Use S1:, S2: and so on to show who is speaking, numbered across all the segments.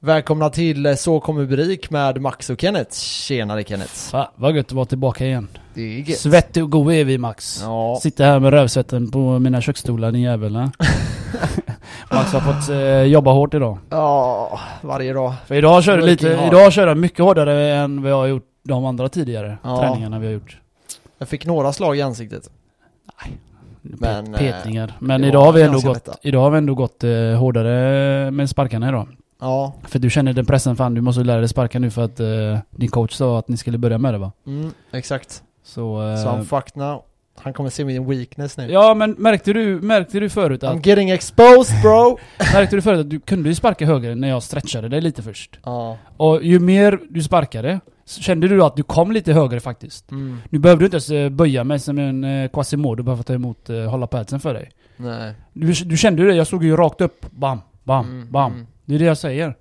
S1: Välkomna till eh, Så kommer Burik med Max och Kenneth. Tjenare Kenneth.
S2: Fan, vad gött att vara tillbaka igen.
S1: Det är gött.
S2: Svettig och god är vi Max.
S1: Ja.
S2: Sitter här med rövsvetten på mina köksstolar din jävel. eh? Max har fått eh, jobba hårt idag.
S1: ja, varje dag.
S2: För idag körde
S1: Working
S2: lite,
S1: hard.
S2: idag körde jag mycket hårdare än vad jag har gjort de andra tidigare
S1: Ja.
S2: träningarna vi har gjort.
S1: Jag fick några slag i ansiktet. Men,
S2: Men,
S1: eh,
S2: Petningar. Men
S1: det
S2: idag
S1: var
S2: har, vi ändå
S1: ganska
S2: gått,
S1: lätta.
S2: idag har vi ändå gått eh, hårdare med sparkarna idag.
S1: Ja.
S2: För du känner den pressen, fan du måste lära dig sparka nu för att eh, din coach sa att ni skulle börja med det va?
S1: Mm, exakt.
S2: Så... Eh,
S1: Så I'm fucked now. Han kommer se min weakness nu.
S2: ja men märkte du, märkte du förut att
S1: I'm getting exposed bro!
S2: Märkte du förut att du kunde ju sparka högre när jag stretchade dig lite först?
S1: ja.
S2: Och ju mer du sparkade, så kände du att du kom lite högre faktiskt.
S1: Mm.
S2: Nu behövde du inte ens eh, böja mig som en eh, Quasimodo bara för att ta emot, eh, hålla padsen för dig.
S1: Nej.
S2: Du, du kände ju det, jag såg ju rakt upp. Bam, bam,
S1: Mm,
S2: bam.
S1: mm,
S2: Det är det jag säger.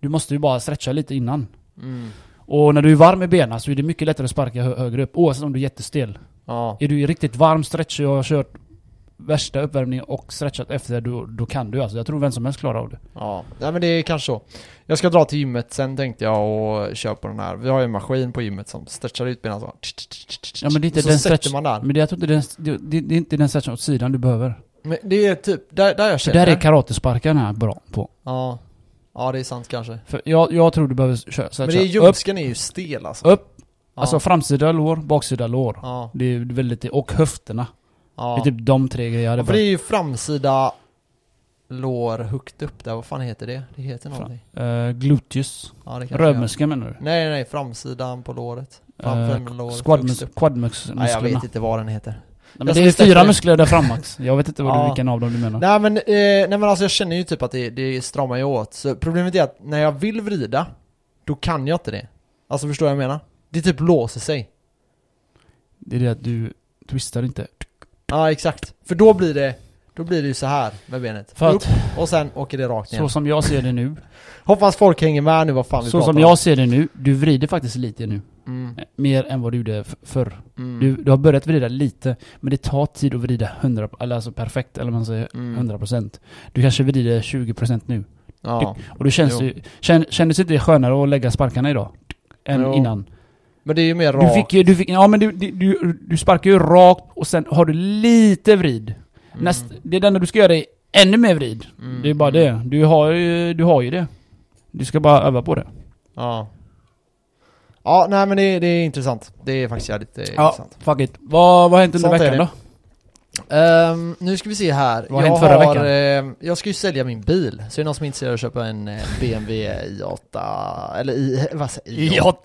S2: Du måste ju bara stretcha lite innan.
S1: mm.
S2: Och när du är varm i benen så är det mycket lättare att sparka hö- högre upp, oavsett om du är jättestel.
S1: Ja.
S2: Är du riktigt varm, stretchig och har kört värsta uppvärmningen och stretchat efter, då, då kan du alltså. Jag tror vem som helst klarar av det.
S1: Ja, nej men det är kanske så. Jag ska dra till gymmet sen tänkte jag och köpa den här. Vi har ju en maskin på gymmet som stretchar ut benen så.
S2: Ja, men det är inte
S1: så
S2: den
S1: sätter
S2: stretch-
S1: man där.
S2: Men det, jag tror inte det, det, det är inte den stretchen åt sidan du behöver.
S1: Men det är typ där, där jag
S2: För
S1: känner.
S2: där är karatesparkarna bra på.
S1: ja. ja, det är sant kanske.
S2: För jag, jag tror du behöver köra
S1: Men det är
S2: upp,
S1: ljumsken är ju stel alltså.
S2: upp.
S1: Ja.
S2: Alltså framsida lår, baksida lår.
S1: ja,
S2: Det är väldigt, och höfterna.
S1: ja.
S2: Det är typ de tre grejer jag hade
S1: ja, för det
S2: behövt.
S1: är ju framsida lår högt upp där. Vad fan heter det? Det heter
S2: Fram-
S1: någonting.
S2: Eh, gluteus.
S1: Ja, det kanske jag-
S2: Rövmuskeln menar du?
S1: Nej, nej, nej. Framsidan på låret. Framför
S2: Eh,
S1: uh, låret. högst
S2: quadmus-
S1: upp.
S2: Quadmusklerna.
S1: Nej, jag
S2: Nej,
S1: vet inte vad den heter.
S2: men
S1: Jag
S2: det
S1: ska
S2: är fyra
S1: stretcha.
S2: muskler där fram Max. Jag vet inte vad du,
S1: Ja.
S2: vilken av dem du menar.
S1: Nej men, eh, nej men alltså jag känner ju typ att det, det stramar ju åt. Så problemet är att när jag vill vrida, då kan jag inte det. Alltså förstår jag vad jag menar? Det typ låser sig.
S2: Det är det att du twistar inte.
S1: Ja exakt. För då blir det, då blir det ju så här med benet.
S2: För
S1: Upp
S2: att,
S1: och sen åker det rakt ner.
S2: så som jag ser det nu.
S1: Hoppas folk hänger med nu vad fan vi
S2: Så
S1: pratar
S2: som jag ser det nu. Du vrider faktiskt lite nu.
S1: om. Mm,
S2: Eh, Mer än vad du gjorde f- förr.
S1: mm,
S2: Du, du har börjat vrida lite, men det tar tid att vrida 100, eller alltså perfekt, eller man säger
S1: mm.
S2: 100%. Du kanske vrider 20% nu.
S1: Ja.
S2: Och då känns
S1: Jo.
S2: det känn, kändes inte det skönare att lägga sparkarna idag? Än
S1: Jo.
S2: innan.
S1: Men det är ju mer
S2: Du
S1: rakt.
S2: fick ju, du fick, ja men du, du- du, du sparkar ju rakt och sen har du lite vrid.
S1: Mm,
S2: Näst, det är den du ska göra är ännu mer vrid.
S1: mm,
S2: Det är bara det. Du har ju, du har ju det. Du ska bara öva på det.
S1: Ja. Ja, nej men det, det är intressant. Det är faktiskt jävligt eh, intressant.
S2: fuck it. Vad, vad har hänt under
S1: Sant är
S2: veckan
S1: det.
S2: då?
S1: Ehm, nu ska vi se här.
S2: Vad har hänt förra veckan?
S1: ehm, jag ska ju sälja min bil. Så är det någon som är intresserad av att köpa en eh, BMW i8, eller i, vad säger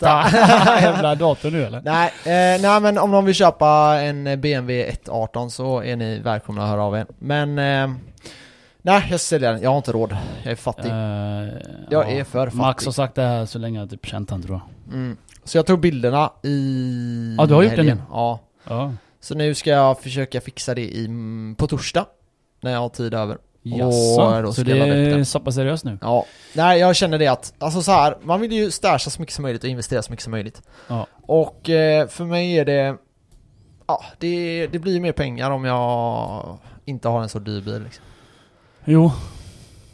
S2: Jävla dator nu eller?
S1: nej, eh, nej men om någon vill köpa en eh, BMW 118 så är ni välkomna att höra av er. Men eh, nej, jag ska sälja den. Jag har inte råd. Jag är fattig.
S2: Eh,
S1: jag
S2: ja.
S1: är för fattig.
S2: Max har sagt det här så länge jag typ känt han tror jag.
S1: mm. Så jag tog bilderna i
S2: Ja, du har gjort det
S1: helgen.
S2: nu.
S1: Ja.
S2: Ja.
S1: Så nu ska jag försöka fixa det i, mm, på torsdag. När jag har tid över. Åh, då
S2: Jaså? Så
S1: ska jag
S2: det
S1: ladda upp
S2: är
S1: den.
S2: så pass seriöst nu?
S1: Ja, nej jag känner det att, alltså så här, man vill ju stasha så mycket som möjligt och investera så mycket som möjligt.
S2: Ja.
S1: Och eh, för mig är det, ja det, det blir ju mer pengar om jag inte har en så dyr bil liksom.
S2: Jo.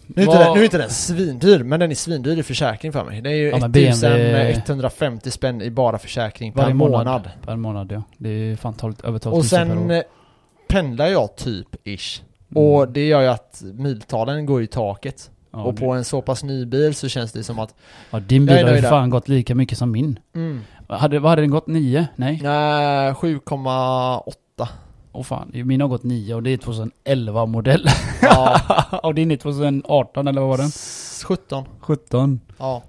S1: Nu är, inte
S2: Vad-
S1: den, nu är inte den svindyr, men den är svindyr i försäkring för mig. Det är ju
S2: Ja, men BMW
S1: 1150 spänn i bara försäkring per
S2: Varje
S1: månad.
S2: månad. Per månad ja. Det är fan 12, över 12
S1: Och
S2: 000 per
S1: sen
S2: år.
S1: eh, pendlar jag typ ish.
S2: Mm.
S1: Och det gör ju att miltalen går i taket.
S2: ja,
S1: och på en så pass ny bil så känns det som att,
S2: ja, din
S1: Jag är
S2: bil har ju
S1: nöjd där.
S2: fan gått lika mycket som min.
S1: mm,
S2: Hade, vad hade den gått? 9? Nej?
S1: nej 7,8
S2: Åh fan, min har gått 9 och det är 2011 modell.
S1: Ja,
S2: och din är 2018 eller vad var den?
S1: S- 17.
S2: 17.
S1: Ja.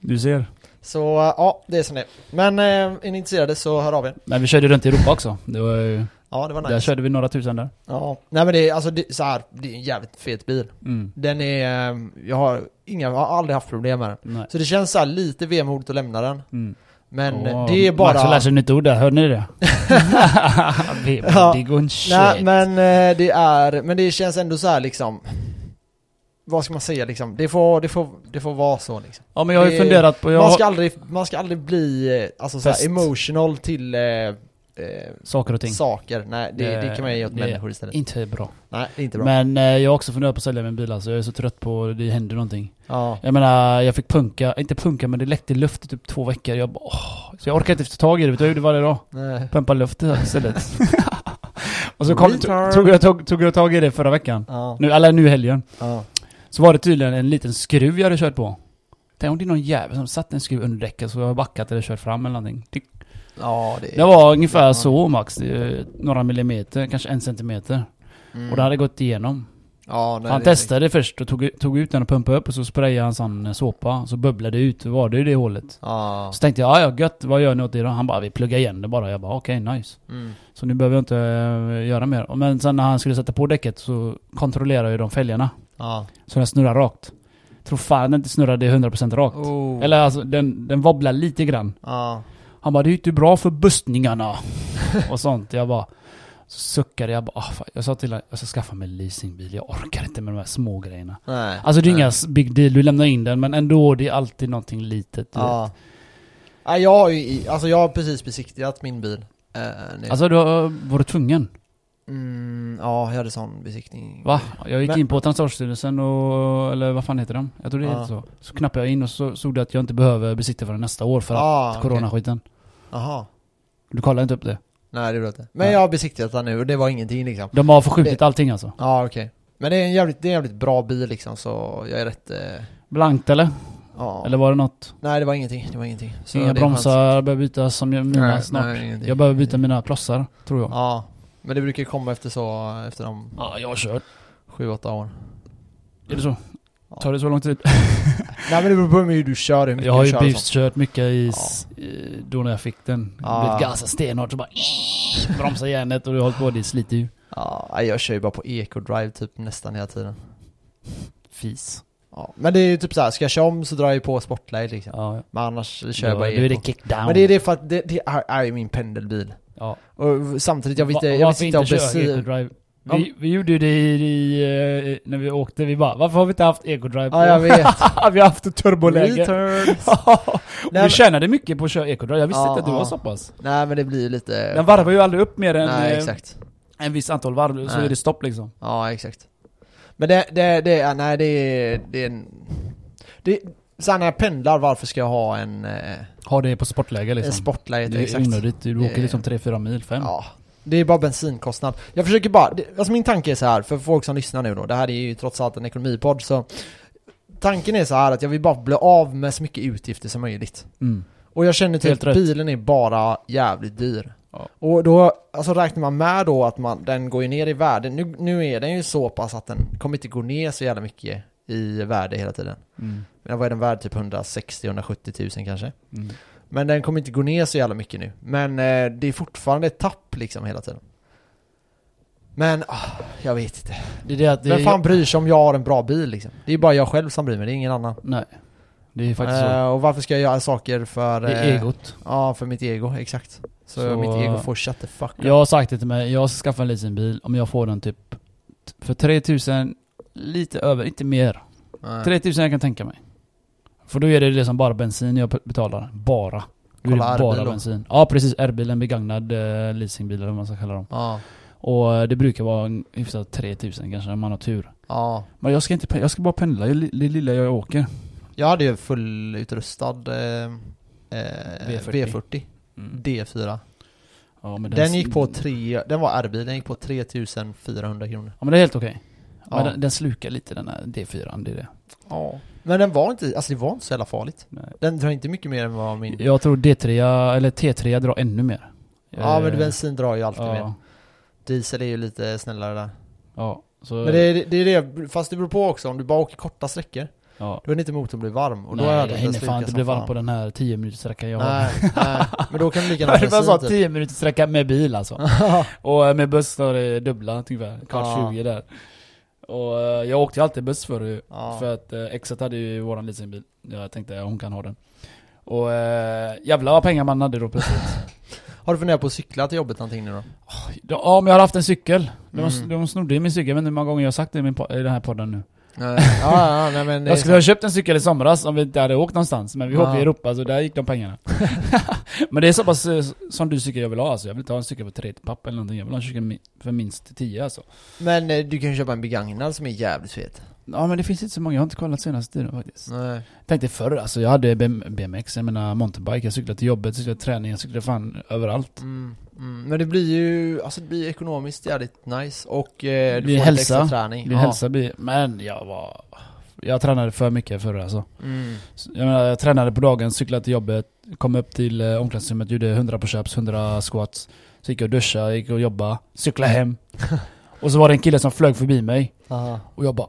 S2: Du ser.
S1: Så eh, ja, det är som det är. Men eh, är ni intresserade så hör av er.
S2: Men vi körde runt i Europa också. Det var ju,
S1: Ja, det var
S2: Där
S1: nice.
S2: körde vi några tusen där.
S1: Ja. Nej men det är alltså det, så här, det är en jävligt fet bil.
S2: Mm.
S1: Den är, eh, jag har inga, jag har aldrig haft problem med den.
S2: Nej.
S1: Så det känns så här lite vemodigt att lämna den.
S2: Mm.
S1: Men eh,
S2: Åh,
S1: det är
S2: Max har
S1: bara...
S2: lärt sig ett nytt ord där, hörde ni det?
S1: Ja.
S2: det går en shit.
S1: Nej men eh, det är, men det känns ändå så här liksom vad ska man säga liksom? Det får, det får, det får vara så liksom.
S2: Ja men jag har ju
S1: det-
S2: funderat på... Jag
S1: Man
S2: har-
S1: ska aldrig, man ska aldrig bli eh, alltså, så här,
S2: Fest.
S1: emotional till eh, eh,
S2: Saker och ting.
S1: saker. Nej, det, det kan man ge åt
S2: Det-
S1: människor istället.
S2: Inte bra.
S1: Nej, det är inte bra.
S2: Men eh, jag har också funderat på att sälja min bil alltså. Jag är så trött på att det händer någonting.
S1: ja.
S2: Jag menar, jag fick punka, inte punka men det läckte luft i typ två veckor. Jag bara, åh. Så jag orkade inte få tag i det, vet du jag gjorde varje dag?
S1: Nej.
S2: Pumpa luft istället. och så kom,
S1: Retard.
S2: tog, jag, tog, tog jag tag i det förra veckan.
S1: Ja.
S2: Nu, eller nu i helgen.
S1: Ja.
S2: Så var det tydligen en liten skruv jag hade kört på. Tänk om det är någon jävel som satt en skruv under däcket så jag har backat eller kört fram eller någonting. Det,
S1: ja, det är...
S2: det var ungefär så max. eh, Några millimeter, kanske en centimeter.
S1: Mm.
S2: Och det hade gått igenom.
S1: Ja, nej,
S2: han
S1: det-
S2: testade först och tog, tog ut den och pumpade upp och så sprayade han sån eh, såpa. Så bubblade det ut, då var det ju det hålet.
S1: Ja.
S2: Så tänkte jag, "Ja, ja gött, vad gör ni åt det då? Han bara, vi pluggar igen det bara. Jag bara, okej nice.
S1: Mm.
S2: Så nu behöver jag inte eh, göra mer. Och Men sen när han skulle sätta på däcket så kontrollerade ju de fälgarna.
S1: Ja.
S2: Så den snurrar rakt. Tror fan den inte snurrade 100% rakt.
S1: Oh.
S2: Eller alltså den, den wobblar lite grann.
S1: Ja.
S2: Han bara, det är ju inte bra för bustningarna. och sånt. Jag bara, så suckade jag bara, ah, fan. jag sa till honom, jag ska skaffa mig en leasingbil. Jag orkar inte med de här små grejerna.
S1: Nej.
S2: Alltså det är
S1: nej.
S2: inga big deal, du lämnar in den men ändå, det är alltid någonting litet. du vet.
S1: Ja. Nej, jag har ju, i- alltså jag har precis besiktigat min bil. Eh, nu.
S2: Alltså du har- var du tvungen?
S1: mm, ja, jag hade sån besiktning.
S2: Va? Jag gick
S1: Men-
S2: in på Transportstyrelsen och, eller vad fan heter den? Jag tror det heter
S1: Ja.
S2: så. Så knappade jag in och så såg det att jag inte behöver besikta förrän nästa år för att
S1: ah,
S2: coronaskiten.
S1: Jaha.
S2: Du kollar inte upp det?
S1: Nej, det gjorde jag inte. Men
S2: Nej.
S1: jag har besiktigat den nu och det var ingenting liksom.
S2: De har förskjutit
S1: Det-
S2: allting alltså?
S1: Ja, okej. Men det är, en jävligt, det är en jävligt bra bil liksom, så jag är rätt... Eh,
S2: Blankt eller?
S1: ja.
S2: Eller var det något?
S1: Nej, det var ingenting. Det var ingenting. Så det
S2: Inga
S1: är skönt.
S2: bromsar behöver bytas som jag, mina
S1: Nej,
S2: snart.
S1: nej, ingenting.
S2: jag behöver byta mina klossar, tror jag. Ja,
S1: Ja. Men det brukar ju komma efter så, efter de
S2: jag kör.
S1: 7-8 åren.
S2: Är det så?
S1: Ja.
S2: Tar det så lång tid?
S1: Nej men det beror på hur mycket du kör, hur mycket
S2: Jag har
S1: du
S2: ju
S1: kör och sånt.
S2: buskört mycket i, s- eh, då när jag fick den.
S1: Ja.
S2: Blivit gasad stenhårt så bara bromsa järnet och du har hållit på. Det sliter ju.
S1: Ja, nej, jag kör ju bara på eco-drive typ nästan hela tiden.
S2: Fis.
S1: Ja. Men det är ju typ så här, ska jag köra om så drar jag ju på spotlight liksom.
S2: Ja,
S1: Men annars kör
S2: kör
S1: jag
S2: bara
S1: bara
S2: du är
S1: eco.
S2: det kick down.
S1: men det är det för att det, det är, är ju min pendelbil.
S2: Ja.
S1: Och samtidigt, jag vill inte,
S2: Va-
S1: jag vill
S2: varför
S1: sitta och
S2: inte köra
S1: bensin...
S2: ecodrive?
S1: Ja.
S2: Vi, vi gjorde ju det i, i, eh, när vi åkte, vi bara varför har vi inte haft ecodrive?
S1: Ja jag vet.
S2: vi har haft ett turboläge.
S1: Returns.
S2: Och
S1: Nej,
S2: vi
S1: men-
S2: tjänade mycket på att köra ecodrive, jag visste
S1: Ja,
S2: inte att du
S1: ja.
S2: var så pass.
S1: Nej men det blir ju lite...
S2: Den varvar ju aldrig upp mer än
S1: Nej
S2: eh,
S1: exakt.
S2: en viss antal varv, så
S1: Nej.
S2: är det stopp liksom.
S1: Ja, exakt. Men det, det, det, ja, nej det är, det är en... Det, så här när jag pendlar, varför ska jag ha en, eh,
S2: Ha det på sportläge liksom.
S1: en spotlight?
S2: det är
S1: Exakt.
S2: onödigt, du
S1: Det-
S2: åker liksom 3-4 mil, 5.
S1: Ja. Det är bara bensinkostnad. Jag försöker bara, det, alltså min tanke är så här för folk som lyssnar nu då, det här är ju trots allt en ekonomipodd så Tanken är så här att jag vill bara bli av med så mycket utgifter som möjligt.
S2: Mm.
S1: Och jag känner typ
S2: Helt
S1: att
S2: rätt.
S1: bilen är bara jävligt dyr.
S2: Ja.
S1: Och då, alltså räknar man med då att man, den går ju ner i värde. Nu, nu är den ju så pass att den kommer inte gå ner så jävla mycket i värde hela tiden.
S2: Mm.
S1: Men vad är den värd? Typ 160-170 000 kanske.
S2: Mm.
S1: Men den kommer inte gå ner så jävla mycket nu. Men eh, det är fortfarande ett tapp liksom hela tiden. Men, ah, jag vet inte.
S2: Det är det att det
S1: Vem fan bryr sig om jag har en bra bil liksom? Det är bara jag själv som bryr mig, det är ingen annan.
S2: Nej. Det är faktiskt så.
S1: Eh, och varför ska jag göra saker för...
S2: Det är
S1: eh,
S2: egot.
S1: Ja, för mitt ego, exakt. Så,
S2: Så- eh,
S1: mitt ego får shut the fuck up.
S2: Jag har sagt det till mig, jag ska skaffa en leasingbil om jag får den typ t- för 3000 lite över, inte mer.
S1: Nej.
S2: 3000 jag kan tänka mig. För då är det liksom bara bensin jag p- betalar. Bara. Då är
S1: Kolla
S2: det bara
S1: R-bil då.
S2: bensin. Ja precis, R-bilen, begagnad eh, leasingbil eller vad man ska kalla dem.
S1: Ja,
S2: Och eh, det brukar vara en hyfsat 3000 kanske om man har tur.
S1: ja.
S2: Men jag ska inte pe- jag ska bara pendla, det li- det lilla jag åker.
S1: Jag hade ju fullutrustad eh, eh,
S2: V40.
S1: V40.
S2: Mm.
S1: D4.
S2: Ja, men
S1: Mm. Den, gick på tre, den var R-bil, den gick på 3400 kronor.
S2: Ja men det är helt okej. Men
S1: Ja.
S2: den, den slukar lite den här D4, det är det.
S1: Ja. Men den var inte, alltså det var inte så jävla farligt.
S2: Nej.
S1: Den drar inte mycket mer än vad min...
S2: Jag tror D3, eller T3 drar ännu mer.
S1: Ja
S2: Eh,
S1: men bensin drar ju alltid mer.
S2: ja,
S1: Diesel är ju lite snällare där.
S2: ja, så,
S1: Men det är, det är det, fast det beror på också, om du bara åker korta sträckor,
S2: ja.
S1: då är det inte motorn blir varm. Och
S2: Nej,
S1: då är
S2: jag hinner fan inte bli varm på den här 10 minuters sträckan jag har.
S1: Nej, nej, men då kan du lika
S2: Jag hade bara
S1: gärna
S2: sa
S1: bensin typ.
S2: 10 minuters sträcka med bil alltså. och eh, med buss var det dubbla ungefär, kvart
S1: Ja.
S2: 20 där. Och eh, jag åkte ju alltid buss förr ju.
S1: Ja.
S2: För att eh, exet hade ju våran leasingbil. Jag tänkte ja, hon kan ha den. Och eh, jävlar vad pengar man hade då plötsligt.
S1: Har du funderat på att cykla till jobbet någonting nu då?
S2: ja men jag hade haft en cykel. De,
S1: Mm.
S2: de snodde ju min cykel, jag vet inte hur många gånger jag har sagt det i, min po- i den här podden nu.
S1: Nej, ja, ja, nej, men eh, det är
S2: Jag skulle
S1: sant.
S2: ha köpt en cykel i somras om vi inte hade åkt någonstans, men vi
S1: Ja.
S2: åkte i Europa så där gick de pengarna. men det är så pass eh, som du cykel jag vill ha alltså. Jag vill inte ha en cykel på 30 papp eller någonting. Jag vill ha en cykel mi- för minst 10 alltså.
S1: Men eh, du kan ju köpa en begagnad som är jävligt fet.
S2: Ja men det finns inte så många, jag har inte kollat senaste tiden faktiskt.
S1: Nej.
S2: Tänkte förr alltså, jag hade BM- BMX, jag menar mountainbike, jag cyklade till jobbet, cyklade till träning, jag cyklade fan överallt.
S1: Mm, mm. Men det blir ju, alltså det blir ju ekonomiskt jävligt nice och eh, du
S2: Det blir
S1: får
S2: hälsa.
S1: lite extra träning.
S2: Min hälsa blir... Men jag var... Jag tränade för mycket förr alltså.
S1: Mm.
S2: Så, Jag, menar, jag tränade på dagen, cyklade till jobbet, kom upp till eh, omklädningsrummet, gjorde 100 pushups, 100 squats. Så gick jag och duschade, gick och jobbade, cyklade hem. och så var det en kille som flög förbi mig.
S1: Aha.
S2: Och jag bara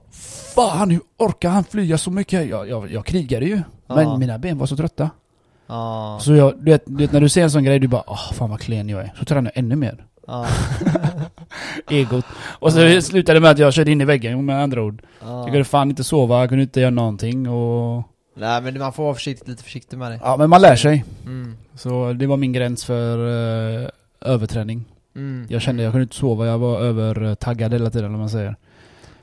S2: Fan hur orkar han flyga så mycket? Jag, jag, jag krigade ju.
S1: Ja.
S2: Men mina ben var så trötta.
S1: Ja.
S2: Så jag, du vet, du vet när du ser en sån grej, du bara ah fan vad klen jag är. Så tränar jag ännu mer.
S1: Ja.
S2: Egot. Och så slutade det med att jag körde in i väggen med andra ord.
S1: Ja.
S2: Jag kunde fan inte sova, jag kunde inte göra någonting och...
S1: Nej men man får vara försiktigt, lite försiktig med det.
S2: Ja men man lär sig.
S1: Mm.
S2: Så det var min gräns för eh, överträning.
S1: Mm.
S2: Jag kände jag kunde inte sova, jag var övertaggad hela tiden om man säger.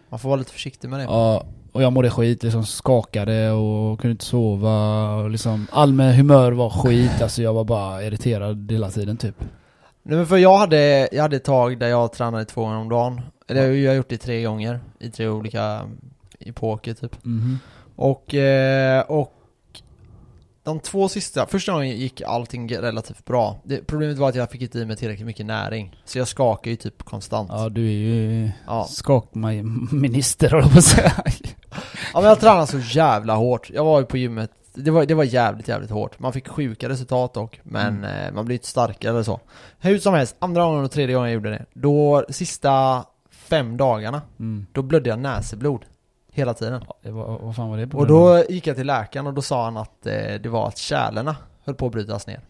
S1: Man får vara lite försiktig med det.
S2: Ja, och jag mådde skit, liksom skakade och kunde inte sova och liksom allmän humör var skit, alltså jag var bara irriterad hela tiden typ.
S1: Nej men för jag hade, jag hade ett tag där jag tränade två gånger om dagen. Eller jag har ju gjort det tre gånger, i tre olika epoker typ.
S2: Mhm.
S1: Och, eh, och de två sista, första gången gick allting relativt bra. Det, problemet var att jag fick inte i mig tillräckligt mycket näring. Så jag skakar ju typ konstant.
S2: Ja
S1: Ja,
S2: du är ju
S1: ja.
S2: skakminister höll jag på att säga.
S1: men jag tränade så jävla hårt. Jag var ju på gymmet, det var, det var jävligt jävligt hårt. Man fick sjuka resultat dock, men eh, man blir inte starkare eller så. Hur som helst, andra gången och tredje gången jag gjorde det, då sista fem dagarna,
S2: Mm.
S1: då blödde jag näseblod. Hela tiden.
S2: Ja, det var, vad fan var det på
S1: Och
S2: grund av?
S1: då gick jag till läkaren och då sa han att eh, det var att kärlen höll på att brytas ner.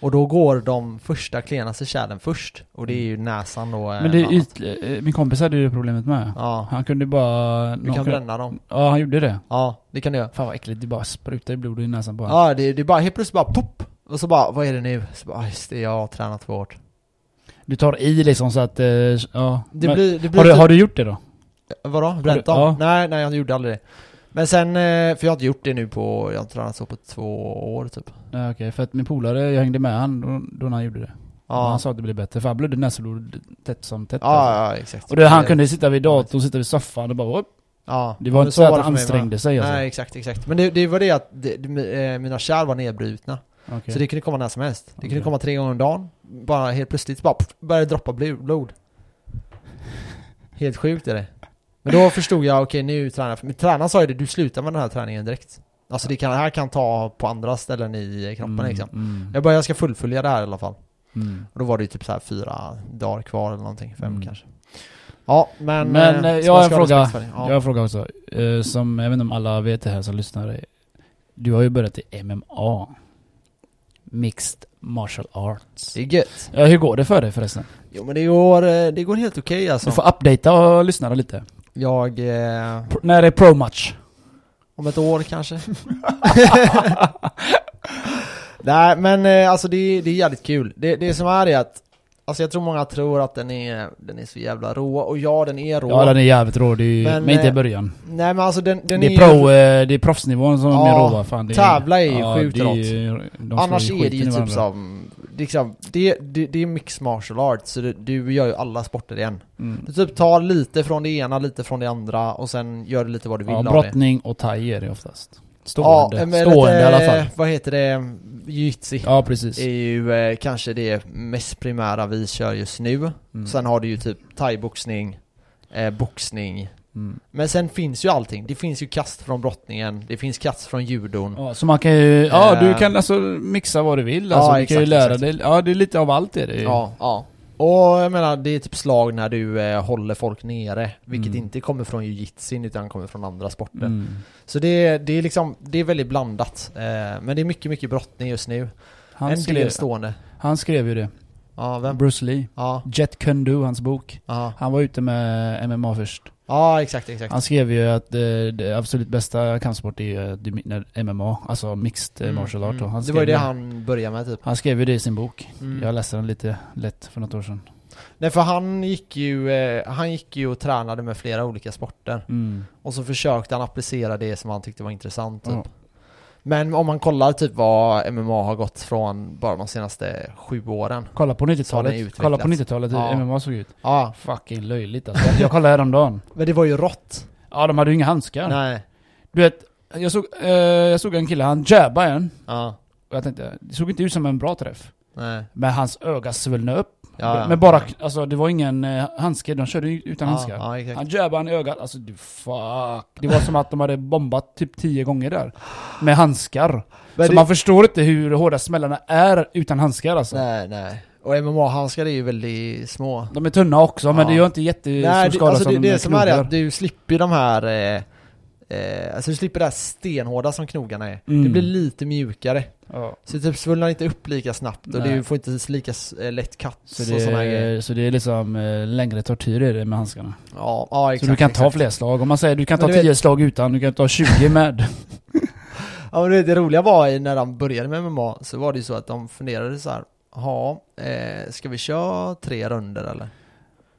S1: Och då går de första klenaste kärlen först. Och det är ju näsan då. eh,
S2: Mm. Men det är
S1: bland annat.
S2: yt, eh, min kompis hade ju det problemet med.
S1: Ja,
S2: Han kunde
S1: du
S2: bara... någon
S1: kan
S2: kunde-
S1: bränna dem.
S2: Ja, han gjorde det.
S1: Ja, det kan du göra.
S2: Fan vad äckligt, det bara sprutade blod i näsan på honom.
S1: Ja, det, det är bara helt plötsligt bara pop! Och så bara, vad är det nu? Så bara, "Ah, just det, jag har tränat för hårt.
S2: Du tar i liksom så att... eh, ja.
S1: Det
S2: Men,
S1: blir, det blir
S2: har, du,
S1: typ-
S2: har du gjort det då?
S1: Vadå? Bränt dem?
S2: ja.
S1: Nej, nej jag gjorde aldrig det. Men sen, eh, för jag har inte gjort det nu på, jag har tränat så på två år typ.
S2: Nej okej, för att min polare, jag hängde med han då, då när han gjorde det. Och
S1: Ja,
S2: Han sa att det blev bättre, för han blödde näsblod tätt som tätt. alltså.
S1: ja, ja exakt.
S2: Och det, han kunde sitta vid datorn, sitta vid soffan och bara upp.
S1: ja.
S2: Det var
S1: Men
S2: inte så, att
S1: det
S2: han
S1: för mig med.
S2: ansträngde sig alltså.
S1: Nej, exakt, exakt. Men det, det var det att det, det, eh, mina kärl var nedbrutna.
S2: Okej.
S1: Så det kunde komma när som helst. Det kunde
S2: Okej.
S1: komma tre gånger om dagen. Bara helt plötsligt bara pff, började droppa bl- blod. Helt sjukt är det. Men då förstod jag, okej nu tränar jag. Men tränaren sa ju det, du slutar med den här träningen direkt. Alltså det, kan, det här kan ta på andra ställen i kroppen
S2: Mm,
S1: liksom.
S2: Mm,
S1: Jag bara, jag ska fullfölja det här i alla fall.
S2: mm.
S1: Och då var det ju typ så här fyra dagar kvar eller någonting, fem
S2: Mm.
S1: kanske. Ja, men...
S2: Men,
S1: eh,
S2: eh,
S1: så
S2: jag
S1: man
S2: har en
S1: ska ha
S2: fråga.
S1: respekt för det.
S2: Jag
S1: Ja.
S2: har en fråga också. Eh, som, jag vet inte om alla vet det här som lyssnar. Du har ju börjat i MMA. Mixed Martial Arts.
S1: Det är gött.
S2: Ja, hur går det för dig förresten?
S1: Jo men det går, eh, det går helt okej alltså.
S2: Du får updata och lyssna lite.
S1: Jag... Eh,
S2: Pr- när är pro-match?
S1: om ett år kanske. Nej men eh, alltså det, det är jävligt kul. Det, det som är är att Alltså jag tror många tror att den är, den är så jävla rå, och ja den är rå.
S2: Ja, den är jävligt rå. Det är ju,
S1: Men,
S2: men, inte i
S1: eh,
S2: början.
S1: Nej men alltså den, den
S2: det, är pro, eh, det är proffsnivån som
S1: Ja,
S2: är rå va? Fan, det
S1: tävla är ju sjukt
S2: det ju- de slår
S1: Annars är det
S2: skiten i
S1: ju typ
S2: varandra.
S1: som, liksom, det, det, det är mix martial arts, så det, du gör ju alla sporter igen.
S2: Mm.
S1: Du typ tar lite från det ena, lite från det andra och sen gör du lite vad du vill
S2: Ja,
S1: av det.
S2: brottning och thai är det oftast. Stående. Stående i
S1: eh,
S2: alla fall.
S1: Vad heter det? Jiu-jitsu
S2: Ja, precis.
S1: är ju eh, kanske det mest primära vi kör just nu.
S2: Mm.
S1: Sen har du ju typ thaiboxning, eh, boxning.
S2: Mm.
S1: Men sen finns ju allting. Det finns ju kast från brottningen, det finns kast från judon.
S2: Ja, så man kan ju, ja
S1: Eh.
S2: du kan alltså mixa vad du vill
S1: Ja,
S2: alltså, du kan ju
S1: exakt,
S2: lära
S1: exakt.
S2: dig, ja det är lite av allt är det ju.
S1: Ja, ja. Och jag menar, det är typ slag när du eh, håller folk nere, vilket
S2: Mm.
S1: inte kommer från jujitsin utan kommer från andra sporter.
S2: Mm.
S1: Så det, är- det är liksom, det är väldigt blandat. Eh, men det är mycket, mycket brottning just nu.
S2: Han,
S1: en
S2: skrev,
S1: del stående.
S2: han skrev ju det,
S1: Ja, vem?
S2: Bruce Lee.
S1: Ja,
S2: Jet Kundu, hans bok.
S1: ja.
S2: Han var ute med MMA först.
S1: Ja, exakt, exakt.
S2: Han skrev ju att eh, det absolut bästa kampsport är ju eh, det- när MMA, alltså mixed mm. martial art. då. Han
S1: det var ju
S2: skrev
S1: det han började med typ.
S2: han skrev ju det i sin bok.
S1: Mm.
S2: Jag läste den lite lätt för något år sedan.
S1: Nej för han gick ju, eh, han gick ju och tränade med flera olika sporter.
S2: Mm.
S1: Och så försökte han applicera det som han tyckte var intressant typ.
S2: Ja.
S1: Men om man kollar typ vad MMA har gått från bara de senaste sju åren.
S2: Kolla
S1: Så
S2: på
S1: har den
S2: 90-talet.
S1: utvecklats.
S2: Kolla på 90-talet hur
S1: Ja.
S2: MMA såg ut.
S1: Ja,
S2: Fucking löjligt alltså. Jag kollade häromdagen.
S1: men det var ju rått.
S2: Ja, de hade ju inga handskar.
S1: Nej.
S2: Du vet, jag såg, eh, jag såg en kille, han jabbade en.
S1: Ja,
S2: Och jag tänkte, det såg inte ut som en bra träff.
S1: nej.
S2: Men hans öga svullnade upp.
S1: Ja, ja.
S2: Men bara, alltså det var ingen eh, handske, de körde ju utan handskar.
S1: Ja, ja, exakt.
S2: Han jabbade han i ögat, alltså du fuck. Det var som att de hade bombat typ tio gånger där. Med handskar.
S1: Men
S2: så
S1: det-
S2: man förstår inte hur hårda smällarna är utan handskar alltså.
S1: Nej, nej. Och MMA-handskar är ju väldigt små.
S2: De är tunna också, men
S1: Ja.
S2: det gör inte jättestor
S1: Nej, det,
S2: skada
S1: alltså
S2: som
S1: det,
S2: de
S1: det som är
S2: knogar.
S1: är att du slipper de här... Eh, eh, alltså du slipper det här stenhårda som knogarna är.
S2: Mm.
S1: Det blir lite mjukare.
S2: Ja.
S1: Så det typ svullnar inte upp lika snabbt och
S2: Nej.
S1: du får inte lika s- eh, lätt cut
S2: Så,
S1: och såna här
S2: det,
S1: grejer.
S2: är, så det är liksom eh, längre tortyr är det med handskarna.
S1: Ja, ja exakt.
S2: så du kan ta
S1: exakt.
S2: fler slag. Om man säger du kan
S1: Men
S2: ta
S1: du
S2: 10
S1: vet-
S2: slag utan, du kan ta 20 med.
S1: Ja, men det, det roliga var ju när de började med MMA så var det ju så att de funderade så här. Ja, eh, ska vi köra tre runder eller?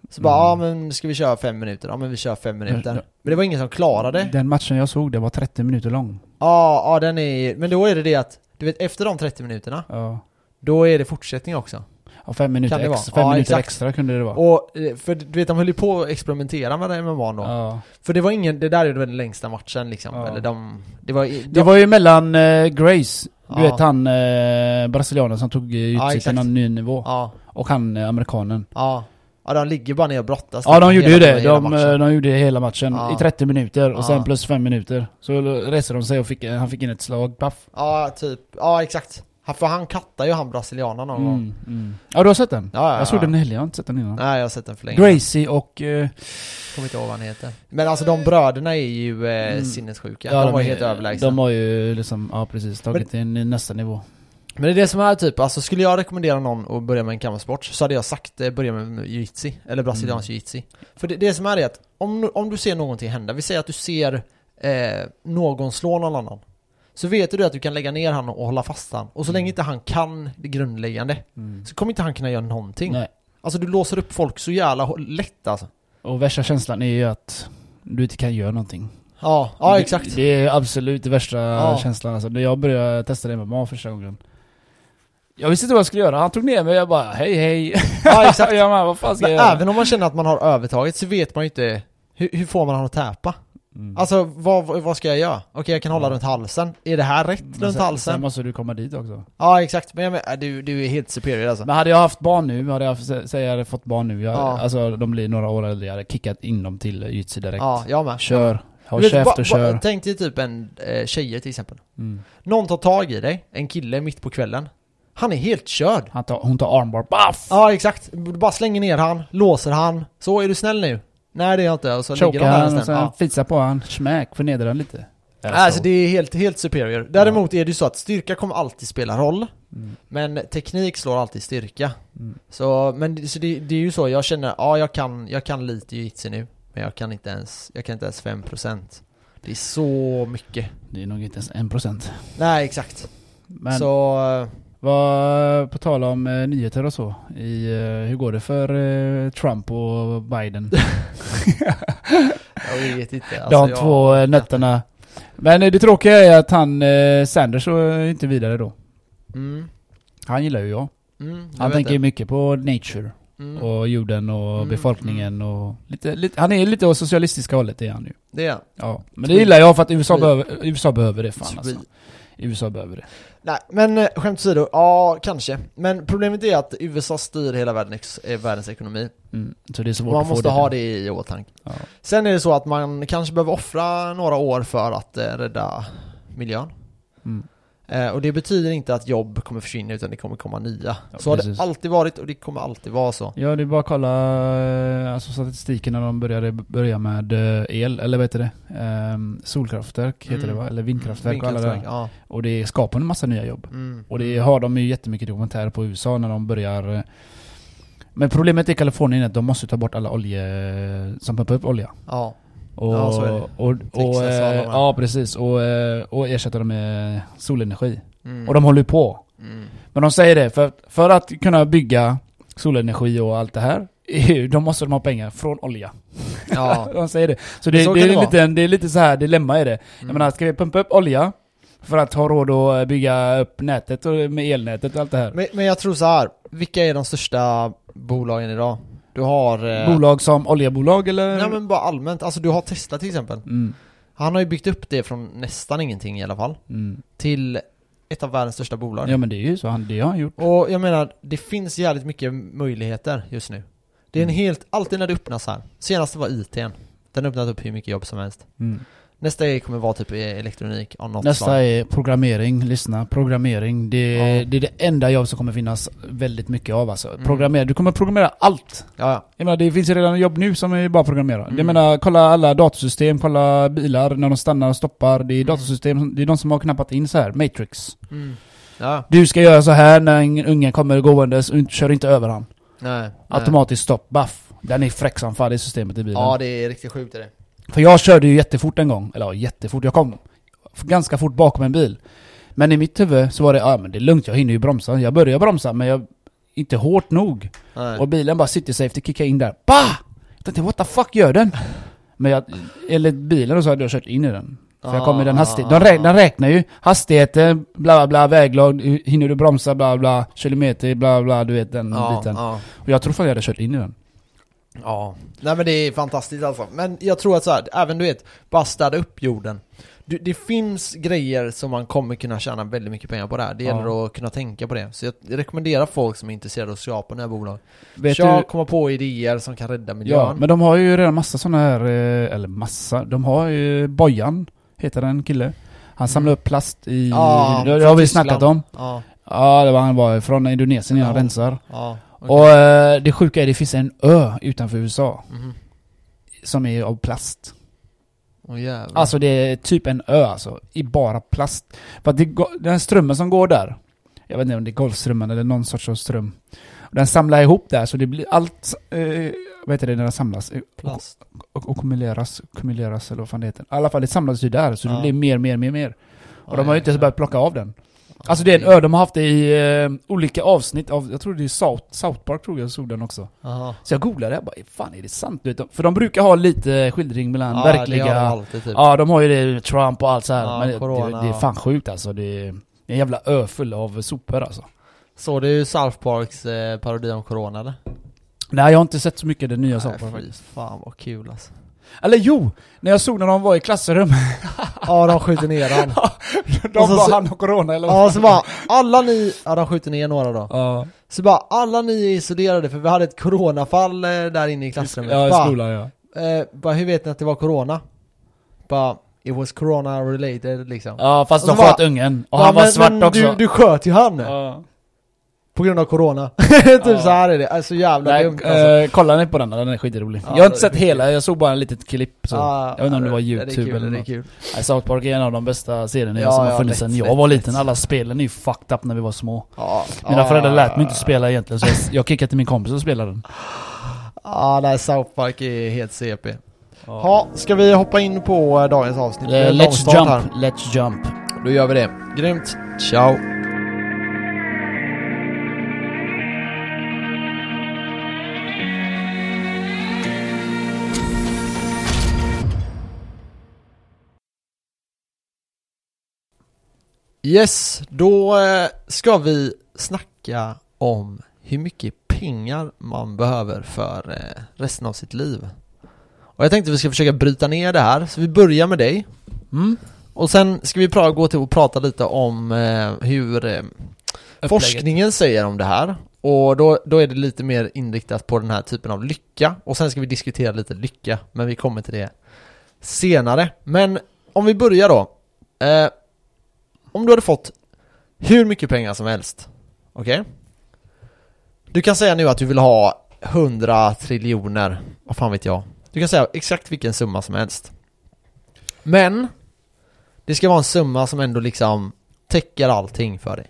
S1: Så bara,
S2: Mm.
S1: ja men ska vi köra fem minuter? Ja men vi kör fem minuter.
S2: Ja.
S1: Men det var ingen som klarade.
S2: Den matchen jag såg, det var 30 minuter lång.
S1: Ja, ja den är Men då är det det att, du vet efter de 30 minuterna,
S2: Ja.
S1: då är det fortsättning också.
S2: Ja, fem minuter,
S1: Kan det
S2: ex,
S1: vara?
S2: fem
S1: Ja,
S2: minuter
S1: exakt.
S2: extra kunde det vara.
S1: Och, eh, för du vet de höll ju på att experimentera med den MMA då.
S2: ja.
S1: För det var ingen, det där är väl den längsta matchen liksom.
S2: Ja.
S1: Eller de, det var... i-
S2: Det var ju mellan eh, Grace, du
S1: Ja.
S2: vet han eh, brasilianen som tog eh, ut
S1: Ja,
S2: sig till
S1: exakt.
S2: någon ny nivå.
S1: Ja,
S2: Och han eh, amerikanen.
S1: ja. Ja de ligger bara ner och brottas. liksom
S2: Ja de gjorde ju
S1: Hela-
S2: det.
S1: hela
S2: De,
S1: matchen.
S2: eh, de gjorde det hela matchen
S1: Ja.
S2: i 30 minuter och
S1: Ja.
S2: sen plus fem minuter. Så reser de sig och fick, han fick in ett slag, paff.
S1: Ja, typ. Ja, exakt. Han- För han kattar ju han brasilianen någon gång.
S2: Mm, mm. Ja du har sett den?
S1: Ja, ja,
S2: Jag såg
S1: ja.
S2: den i helgen, jag har inte sett den innan.
S1: Nej, jag har sett den för länge.
S2: Gracie och... eh,
S1: Kommer inte ihåg vad han heter. Men alltså de bröderna är ju eh,
S2: Mm.
S1: sinnessjuka. de, var ju helt överlägsna.
S2: De har ju liksom, ja precis, tagit till en- nästa nivå.
S1: Men det är det som är typ, alltså skulle jag rekommendera någon att börja med en kampsport så hade jag sagt eh, börja med jiu-jitsu, eller brasiliansk
S2: Mm.
S1: jiu-jitsu. För det, det som är det är att om, nu- om du ser någonting hända, vi säger att du ser eh, någon slå någon annan. Så vet du att du kan lägga ner han och hålla fast han. Och så
S2: Mm.
S1: länge inte han kan det grundläggande så kommer inte han kunna göra någonting.
S2: Nej.
S1: Alltså du låser upp folk så jävla hå- lätt alltså.
S2: Och värsta känslan är ju att du inte kan göra någonting.
S1: Ja, ja
S2: Det-
S1: exakt.
S2: Det är absolut det värsta
S1: Ja.
S2: känslan alltså. När jag började testa det med MMA första gången. Jag visste inte vad jag skulle göra, han tog ner mig och jag bara hej hej.
S1: Ja, exakt.
S2: jag bara, vad fan ska
S1: Men
S2: jag göra?
S1: även om man känner att man har övertaget så vet man ju inte hur, hur får man han att täpa?
S2: Mm.
S1: Alltså vad, vad vad ska jag göra? Okej jag kan hålla runt halsen, är det här rätt
S2: Men
S1: runt
S2: sen-
S1: halsen?
S2: Sen måste du komma dit också.
S1: Ja exakt, men jag men, äh, du, du är helt superior alltså.
S2: Men hade jag haft barn nu, hade jag, haft- sä- säg jag hade fått barn nu, jag,
S1: Ja.
S2: alltså de blir några år äldre, jag hade kickat in dem till jujutsu direkt.
S1: Ja, jag med.
S2: Kör,
S1: Du
S2: håll
S1: vet, va-
S2: käft
S1: va-
S2: och kör.
S1: Tänk dig typ en eh, tjejer till exempel.
S2: Mm.
S1: Någon tar tag i dig, en kille mitt på kvällen. Han är helt körd.
S2: Han tar, hon tar armbar, baff!
S1: Ja exakt, du bara slänger ner han, låser han. Så, är du snäll nu? Nej det är jag inte. Och så ligger de
S2: Chokar
S1: där
S2: han
S1: en
S2: och sen
S1: stund. Ja.
S2: fixar på han, smack, förnedrar han lite.
S1: Alltså det är helt, helt superior. Däremot är det ju så att styrka kommer alltid spela roll.
S2: Mm.
S1: Men teknik slår alltid styrka.
S2: Mm.
S1: Så, men det- så det, det är ju så, jag känner, ja jag kan, jag kan lite jujitsu nu. Men jag kan inte ens, jag kan inte ens 5%. Det är så mycket.
S2: Det är nog inte ens 1%.
S1: Nej exakt.
S2: Men
S1: Så, eh,
S2: vad, på tal om eh, nyheter och så, i, eh, hur går det för eh, Trump och Biden?
S1: Alltså, jag vet inte.
S2: De två eh, nötterna. Men eh, det tråkiga är att han, eh, Sanders, är inte vidare då.
S1: Jag, mm,
S2: Han gillar ju jag.
S1: mm, jag
S2: Han
S1: vet
S2: tänker
S1: inte.
S2: mycket på nature
S1: Mm,
S2: och jorden och
S1: Mm,
S2: befolkningen och lite, lite, han är lite åt socialistiska hållet är han ju.
S1: det är han.
S2: Ja, men det gillar jag för att USA,
S1: Tweet.
S2: behöver, USA behöver det fan alltså.
S1: Tweet.
S2: USA behöver det.
S1: Nej, men eh, skämt åsido, ja kanske. Men problemet är att USA styr hela världens, eh, världens ekonomi.
S2: Mm. Så det är svårt
S1: Man
S2: att få
S1: måste
S2: det.
S1: ha
S2: där.
S1: det i åtanke.
S2: Ja.
S1: Sen är det så att man kanske behöver offra några år för att eh, rädda miljön.
S2: Mm.
S1: Eh, och det betyder inte att jobb kommer försvinna utan det kommer komma nya.
S2: Ja,
S1: så har
S2: precis.
S1: det alltid varit och det kommer alltid vara så.
S2: Ja, det är bara att kolla eh, alltså, statistiken när de började börja med eh, el, eller vad heter det? Ehm, solkraftverk heter
S1: Mm.
S2: det va? Eller vindkraftverk, och alla det där.
S1: ja.
S2: Och det skapar en massa nya jobb.
S1: Mm.
S2: Och det har de ju jättemycket dokumentärer på USA när de börjar... eh, Men problemet i Kalifornien är att de måste ta bort alla olje... eh, som pumpar upp olja.
S1: ja.
S2: Och,
S1: Ja, så är det.
S2: och, och,
S1: Texas och alla
S2: eh,
S1: de här.
S2: Ja, precis. Och, eh, och ersätta dem med solenergi.
S1: Mm.
S2: Och de håller ju på.
S1: Mm.
S2: Men de säger det, för, för att kunna bygga solenergi och allt det här. EU, de måste de ha pengar från olja.
S1: Ja.
S2: De säger det. Så det,
S1: Så
S2: det,
S1: kan det
S2: är,
S1: vara.
S2: lite, det är lite så här dilemma är det.
S1: Mm.
S2: Jag menar, ska vi pumpa upp olja för att ha råd att eh, bygga upp nätet och med elnätet och allt det här?
S1: Men, men jag tror så här. vilka är de största bolagen idag? Du har... eh,
S2: Bolag som oljebolag eller?
S1: Nej men bara allmänt, alltså du har Tesla till exempel.
S2: Mm.
S1: Han har ju byggt upp det från nästan ingenting i alla fall.
S2: Mm.
S1: Till ett av världens största bolag.
S2: Ja men det är ju så, han, det har han gjort.
S1: Och jag menar, det finns jävligt mycket möjligheter just nu. Det är en
S2: Mm.
S1: helt, alltid när det öppnas här. Senast var IT'n. Den har öppnat upp hur mycket jobb som helst.
S2: Mm.
S1: Nästa grej kommer vara typ elektronik av något slag.
S2: Nästa E- är programmering, lyssna. Programmering, det,
S1: Ja.
S2: det är det enda jobb som kommer finnas väldigt mycket av alltså.
S1: Mm.
S2: Programmera, du kommer programmera allt.
S1: Ja, ja.
S2: Jag menar, det finns ju redan jobb nu som är bara att programmera.
S1: Mm.
S2: Jag menar, kolla alla datorsystem, kolla bilar när de stannar och stoppar. Det är
S1: Mm.
S2: datorsystem, som- det är de som har knappat in så här, matrix.
S1: Ja,
S2: Du ska göra så här när en ungen kommer gåendes och inte, kör inte över han.
S1: nej. nej.
S2: Automatiskt stopp, baff. Den är fräck som fan, det systemet i bilen.
S1: Ja, det är riktigt sjukt är det.
S2: För jag körde ju jättefort en gång, eller ja, jättefort, jag kom ganska fort bakom en bil. Men i mitt huvud så var det, ja ah, men det är lugnt, jag hinner ju bromsa. Jag började bromsa men jag, inte hårt nog.
S1: Nej.
S2: Och bilen bara city safety kickade in där, bah! Jag tänkte what the fuck gör den? Men jag, enligt bilen då så hade jag kört in i den. För jag kom i
S1: Ah.
S2: den hastigheten, de räknar, den räknar ju hastigheten, bla bla bla, väglag, hur- hinner du bromsa, bla bla, kilometer, bla bla, du vet den
S1: ja,
S2: biten.
S1: Ja,
S2: Och jag tror fan jag hade kört in i den.
S1: ja. Nej men det är fantastiskt alltså. Men jag tror att så här, även du vet, bara städa upp jorden. Du, det finns grejer som man kommer kunna tjäna väldigt mycket pengar på där. Det
S2: Ja.
S1: gäller att kunna tänka på det. Så jag rekommenderar folk som är intresserade av att skapa nya bolag.
S2: Vet
S1: Kör,
S2: du-
S1: komma på idéer som kan rädda
S2: Ja,
S1: miljön.
S2: men de har ju redan massa sådana här, eh, eller massa, de har ju Bojan, heter den kille. Han samlar upp plast i,
S1: Mm. Ja,
S2: det, det har vi
S1: från Tyskland.
S2: snackat om.
S1: Ja,
S2: Ja, det var han var från Indonesien innan
S1: Ja.
S2: han rensar.
S1: ja. okej.
S2: Och eh, det sjuka är det finns en ö utanför USA
S1: Mhm.
S2: som är av plast.
S1: Mm. Åh, jävlar.
S2: Alltså det är typ en ö alltså, i bara plast. För att det, går- den strömmen som går där, jag vet inte om det är golfströmmen eller någon sorts av ström. Den samlar ihop där så det blir allt, eh, vad heter det när den samlas?
S1: Plast.
S2: och, och kumuleras, kumuleras eller vad fan det heter. I alla fall det samlas ju där, så
S1: Ja.
S2: det blir mer, mer, mer, mer. Och de har ju inte ens
S1: jävlar.
S2: börjat plocka av den. Alltså det är en ö, de har haft det i eh, olika avsnitt av, jag tror det är South, South Park tror jag såg den också.
S1: Jaha.
S2: Så jag googlade, jag bara fan är det sant? Du vet, de- för de brukar ha lite skildring mellan
S1: Ja,
S2: verkliga...
S1: det har de alltid typ.
S2: ja, de har ju det, Trump och allt så här.
S1: Ja,
S2: men det,
S1: corona
S2: det, det är fan sjukt alltså. Det är en jävla ö full av sopor alltså.
S1: Så det är ju South Parks eh, parodi om Corona eller?
S2: Nej, jag har inte sett så mycket det nya South Park.
S1: Nej, fy fan vad kul alltså.
S2: Eller jo! När jag såg när de var i klassrummet.
S1: Ja, de skjuter ner han.
S2: de
S1: Och så-
S2: bara, han har corona eller vad
S1: Ja, så bara alla ni, ja de skjuter ner några då.
S2: Ja.
S1: Så bara alla ni är isolerade för vi hade ett coronafall eh, där inne i klassrummet.
S2: Ja, i
S1: bara,
S2: skolan ja.
S1: Eh, bara hur vet ni att det var corona? Bara it was corona related liksom.
S2: Ja, fast
S1: Och så
S2: de sköt
S1: bara-
S2: ungen. Och
S1: Ja,
S2: han var
S1: men-
S2: svart
S1: men
S2: också.
S1: Du, du sköt ju han
S2: Ja.
S1: på grund av corona. typ
S2: Ja.
S1: så här är det. Alltså jävla
S2: Nej,
S1: dumt alltså.
S2: eh, kolla ner på den, den är skitrolig.
S1: Ja,
S2: jag har inte
S1: det-
S2: sett hela, jag såg bara en litet klipp så.
S1: Ja,
S2: jag vet inte om det var
S1: är
S2: YouTube
S1: kul,
S2: eller
S1: Ah, det är
S2: något.
S1: kul.
S2: Nej, South Park är en av de bästa serierna
S1: Ja,
S2: som
S1: ja,
S2: har funnits
S1: lätt,
S2: sen jag
S1: lätt,
S2: var
S1: lätt.
S2: liten. Alla spelen är ju fucked up när vi var små.
S1: Ja,
S2: Mina
S1: ja.
S2: föräldrar lät mig
S1: ah.
S2: inte spela egentligen så jag, jag kickade till min kompis och spelade den.
S1: Ja, Ah, nej South Park är helt CP. Ja, ska vi hoppa in på eh, dagens avsnitt? Det är
S2: Eh,
S1: en
S2: let's
S1: långstart
S2: jump,
S1: här.
S2: let's jump.
S1: Då gör vi det. Grymt. Ciao. Yes, då eh, ska vi snacka om hur mycket pengar man behöver för eh, resten av sitt liv. Och jag tänkte vi ska försöka bryta ner det här, så vi börjar med dig.
S2: Mm?
S1: Och sen ska vi pra- gå till och prata lite om eh, hur eh, forskningen säger om det här. Och då, då är det lite mer inriktat på den här typen av lycka. Och sen ska vi diskutera lite lycka, men vi kommer till det senare. Men om vi börjar då. Eh, om du hade fått hur mycket pengar som helst, okej? Du kan säga nu att du vill ha 100 triljoner, vad fan vet jag. Du kan säga exakt vilken summa som helst. Men det ska vara en summa som ändå liksom täcker allting för dig.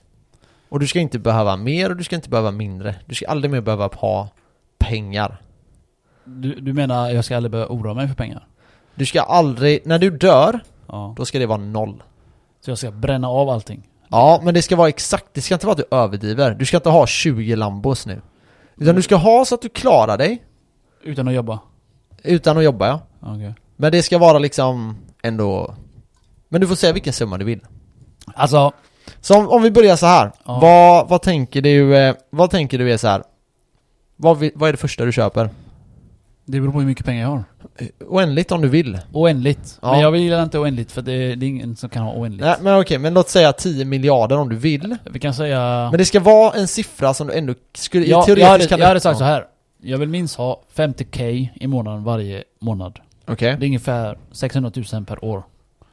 S1: Och du ska inte behöva mer och du ska inte behöva mindre. Du ska aldrig mer behöva ha pengar.
S2: Du, du menar jag ska aldrig behöva oroa mig för pengar?
S1: Du ska aldrig, när du dör,
S2: Ja.
S1: då ska det vara noll.
S2: Så jag ska bränna av allting?
S1: Ja, men det ska vara exakt, det ska inte vara att du överdriver. Du ska inte ha 20 Lambos nu. Utan du ska ha så att du klarar dig,
S2: Utan att jobba?
S1: utan att jobba ja.
S2: Okej.
S1: Men det ska vara liksom ändå... Men du får säga vilken summa du vill.
S2: Alltså,
S1: Så om, om vi börjar så här.
S2: Ja.
S1: Vad, vad tänker du, eh, vad tänker du är så här? Vad, vill, vad är det första du köper?
S2: det beror på hur mycket pengar jag har.
S1: Oändligt om du vill.
S2: Oändligt.
S1: Ja.
S2: Men jag vill inte oändligt för det, det är ingen som kan ha oändligt.
S1: Nej men okej, men låt säga 10 miljarder om du vill.
S2: Vi kan säga...
S1: Men det ska vara en siffra som du ändå skulle,
S2: jag, jag,
S1: teoretiskt
S2: hade,
S1: kan
S2: jag hade sagt så här. Jag vill minst ha 50k i månaden varje månad.
S1: Okej,
S2: Det är ungefär 600 000 per år.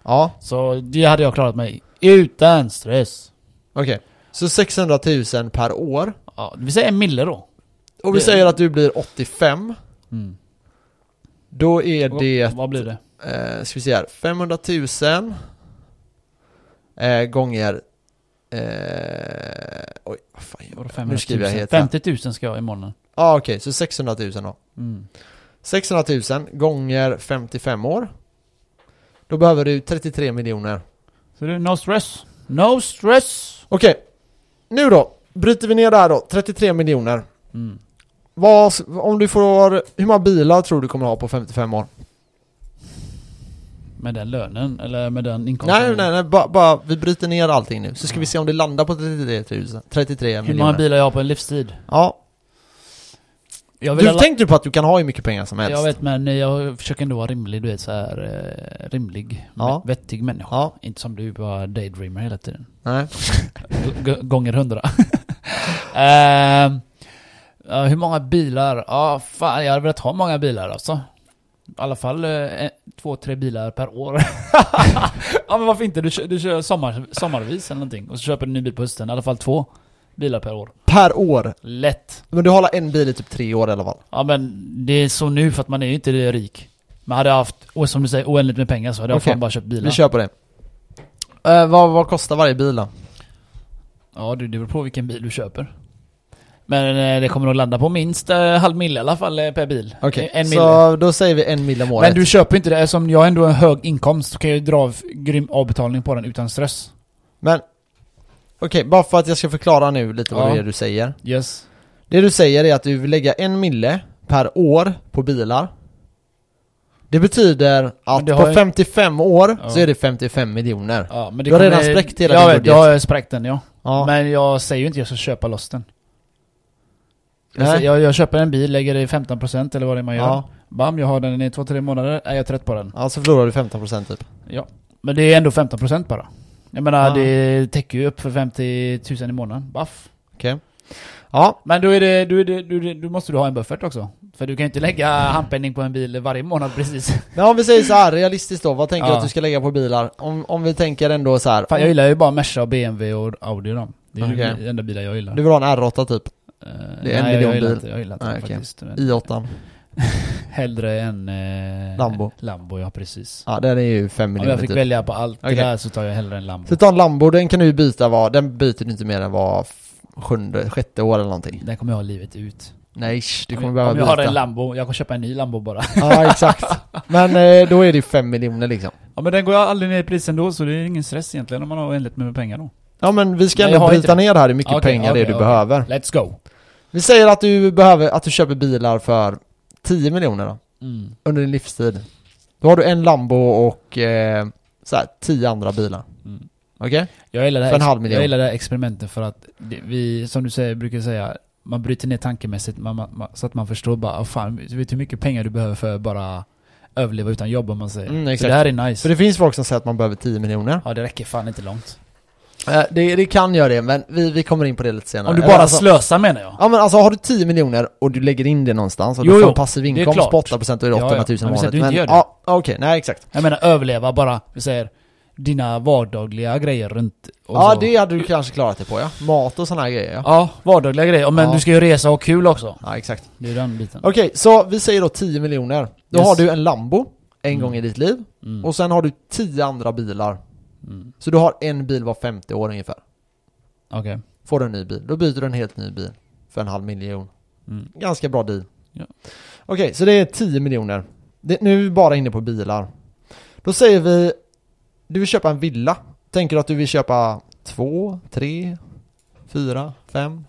S1: ja,
S2: Så det hade jag klarat mig utan stress.
S1: okej. Så 600 000 per år.
S2: Ja, vi säger en mille då.
S1: Och vi
S2: Det-
S1: säger att du blir 85.
S2: Mm.
S1: Då är det,
S2: Vad blir det?
S1: eh, ska vi se här, 500 000 eh, gånger eh, Oj, vad fan
S2: Vadå
S1: Nu
S2: 500
S1: skriver
S2: 000?
S1: jag helt
S2: 50 000 ska jag ha i månaden.
S1: Ja okej, så 600 000 då.
S2: Mm.
S1: 600 000 gånger 55 år. Då behöver du 33 miljoner.
S2: Så det är no stress. No stress!
S1: Okej, nu då. Bryter vi ner det här då. 33 miljoner.
S2: Mm.
S1: Vad, om du får, hur många bilar tror du kommer ha på 55 år?
S2: Med den lönen, eller med den inkomsten.
S1: Nej, nej, nej, bara, bara vi bryter ner allting nu. Så ska vi se om det landar på 33 000. 33
S2: Hur många
S1: miljoner.
S2: bilar jag har på en livstid.
S1: Ja.
S2: Jag
S1: Du
S2: alla-
S1: tänkte ju på att du kan ha hur mycket pengar som helst.
S2: Jag vet men jag försöker ändå vara rimlig, du vet så här eh, rimlig,
S1: Ja.
S2: mä- vettig människa.
S1: Ja,
S2: Inte som du bara daydreamer hela tiden.
S1: nej.
S2: G- g- gånger hundra. Ehm, ja, hur många bilar? Ja, fan jag hade velat ha många bilar alltså. I alla fall eh, en- två, tre bilar per år. ja men varför inte? Du kör, du kör sommar, sommarvis eller någonting. Och så köper du en ny bil på hösten. I alla fall två bilar per år.
S1: Per år.
S2: Lätt.
S1: Men du håller en bil i typ tre år i alla fall.
S2: Ja men det är så nu för att man är ju inte rik. Man hade jag haft, och som du säger, oändligt med pengar så hade jag
S1: Okej.
S2: fan bara köpt bilar.
S1: Vi kör på det. Eh, vad, vad kostar varje bil då?
S2: Ja du, det beror på vilken bil du köper. Men eh, det kommer nog landa på minst eh, halv mille i alla fall eh, per bil.
S1: Okej,
S2: Eh, En mille.
S1: så då säger vi en mil om året.
S2: Men du köper ju inte det, eftersom jag ändå har en hög inkomst så kan jag ju dra av grym avbetalning på den utan stress.
S1: Men Okej, bara för att jag ska förklara nu lite vad
S2: Ja.
S1: det är du säger.
S2: Yes.
S1: Det du säger är att du vill lägga en mille per år på bilar. Det betyder att
S2: det har
S1: på
S2: ju-
S1: 55 år
S2: Ja.
S1: så är det 55 miljoner.
S2: Ja, men det
S1: Du har
S2: kommer-
S1: redan spräckt hela
S2: jag
S1: din
S2: vet,
S1: budget.
S2: Jag har spräckt den ja.
S1: Ja.
S2: Men jag säger ju inte att jag ska köpa loss den. Jag,
S1: Nej.
S2: säger- jag, jag köper en bil, lägger det i 15% eller vad det är man gör.
S1: ja.
S2: Bam, jag har den i två, tre månader. Är jag trött på den?
S1: ja, så förlorar du 15% typ.
S2: Men det är ändå 15% bara. Jag menar,
S1: Ja.
S2: det täcker ju upp för 50 000 i månaden. Baff.
S1: Okej. Ja,
S2: Men då, är det, då, är det, då, är det, då måste du ha en buffert också. För du kan ju inte lägga
S1: Mm.
S2: handpenning på en bil varje månad precis.
S1: men om vi säger så här realistiskt då, vad tänker du
S2: Ja.
S1: att du ska lägga på bilar? Om, om vi tänker ändå så här.
S2: Fan, jag gillar ju bara Merca och BMW och Audi och dem. Det är ju
S1: Okej.
S2: de enda bilar jag gillar.
S1: Du vill ha en R8 typ,
S2: Eh,
S1: det är en
S2: nej,
S1: miljon
S2: jag gillar
S1: bil.
S2: inte, jag gillar inte
S1: Nej,
S2: det
S1: okej.
S2: faktiskt. Men
S1: i8.
S2: Hellre en... Eh,
S1: Lambo.
S2: Lambo, ja precis.
S1: Ja, den är ju 5
S2: Om jag
S1: miljoner
S2: fick
S1: typ.
S2: välja på allt
S1: Okej.
S2: det där så tar jag hellre en Lambo.
S1: Så ta en Lambo, den kan du ju byta var, den byter du inte mer än var f- sjunde, sjätte år eller någonting.
S2: Den kommer jag ha livet ut.
S1: Nej, sh, du kommer
S2: om jag,
S1: behöva
S2: om jag har
S1: byta.
S2: en Lambo, jag kommer köpa en ny Lambo bara.
S1: Ja, exakt. Men eh, då är det ju fem miljoner liksom.
S2: Ja men den går aldrig ner i pris ändå så det är ingen stress egentligen om man har oändligt med pengar då.
S1: Ja men vi ska
S2: Men jag
S1: ändå
S2: har
S1: bryta
S2: inte
S1: ner det här hur mycket
S2: Okej,
S1: pengar det är
S2: okej,
S1: du
S2: okej.
S1: behöver.
S2: Let's go!
S1: Vi säger att du behöver, att du köper bilar för 10 miljoner då,
S2: Mm.
S1: under din livstid. Då har du en Lambo och eh, så här, 10 andra bilar.
S2: Mm.
S1: Okej?
S2: Jag gillar det
S1: För
S2: här,
S1: en halv miljon.
S2: jag gillar det här experimentet för att det, vi, som du säger, brukar säga, man bryter ner tankemässigt man, man, man, så att man förstår bara, oh, fan, du vet hur mycket pengar du behöver för att bara överleva utan jobb om man säger.
S1: Mm,
S2: så
S1: exakt.
S2: det här är nice.
S1: För det finns folk som säger att man behöver 10 miljoner.
S2: Ja det räcker fan inte långt.
S1: Eh, det, det kan göra det, men vi, vi kommer in på det lite senare.
S2: Om du
S1: Eller
S2: bara
S1: alltså,
S2: slösar menar jag.
S1: Ja men alltså har du 10 miljoner och du lägger in det någonstans och
S2: Jo,
S1: du får
S2: jo,
S1: en passiv
S2: det är
S1: inkomst på
S2: klart.
S1: 8% och är det
S2: Ja, ja.
S1: 800 000 om
S2: Men vi säger
S1: året.
S2: att du inte gör det.
S1: ja, okej, nej exakt.
S2: Jag menar överleva bara, vi säger, dina vardagliga grejer runt och
S1: Ja
S2: så.
S1: det hade du kanske klarat dig på ja. Mat och sådana här grejer ja.
S2: Ja, vardagliga grejer. Men
S1: Ja.
S2: du ska ju resa och ha kul också.
S1: Ja exakt.
S2: Det är den biten.
S1: Okej, så vi säger då 10 miljoner. Då
S2: Yes.
S1: har du en Lambo en
S2: Mm.
S1: gång i ditt liv
S2: Mm.
S1: och sen har du 10 andra bilar.
S2: Mm.
S1: Så du har en bil var 50 år ungefär.
S2: Okej.
S1: Får du en ny bil, då byter du en helt ny bil för en halv miljon.
S2: Mm.
S1: Ganska bra deal.
S2: Ja.
S1: Okej, så det är 10 miljoner. Det, nu är vi bara inne på bilar. Då säger vi, du vill köpa en villa. Tänker du att du vill köpa två, tre, fyra, fem?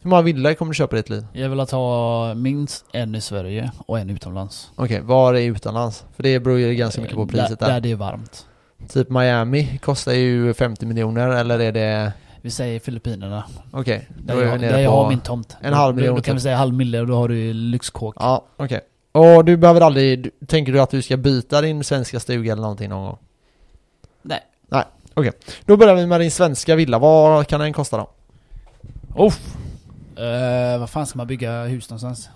S1: Hur många villor kommer du köpa i ditt liv?
S2: Jag vill att ha minst en i Sverige och en utomlands.
S1: Okej, var är utomlands? För det beror ju ganska mycket på
S2: Eh,
S1: priset
S2: där. Där
S1: där.
S2: det är varmt.
S1: Typ Miami kostar ju 50 miljoner, eller är det...
S2: Vi säger Filippinerna.
S1: Okej,
S2: Där
S1: då är vi
S2: jag, där
S1: nere
S2: jag har
S1: på...
S2: min tomt.
S1: en halv
S2: Då-
S1: miljon
S2: Då kan vi
S1: typ.
S2: säga halv mille och då har du ju lyxkåk.
S1: Ja, okej. Och du behöver aldrig... du- Tänker du att du ska byta din svenska stuga eller någonting någon gång?
S2: Nej.
S1: Nej, okej. Då börjar vi med din svenska villa. Vad kan den kosta då?
S2: Uff. Eh, vad fan ska man bygga hus någonstans?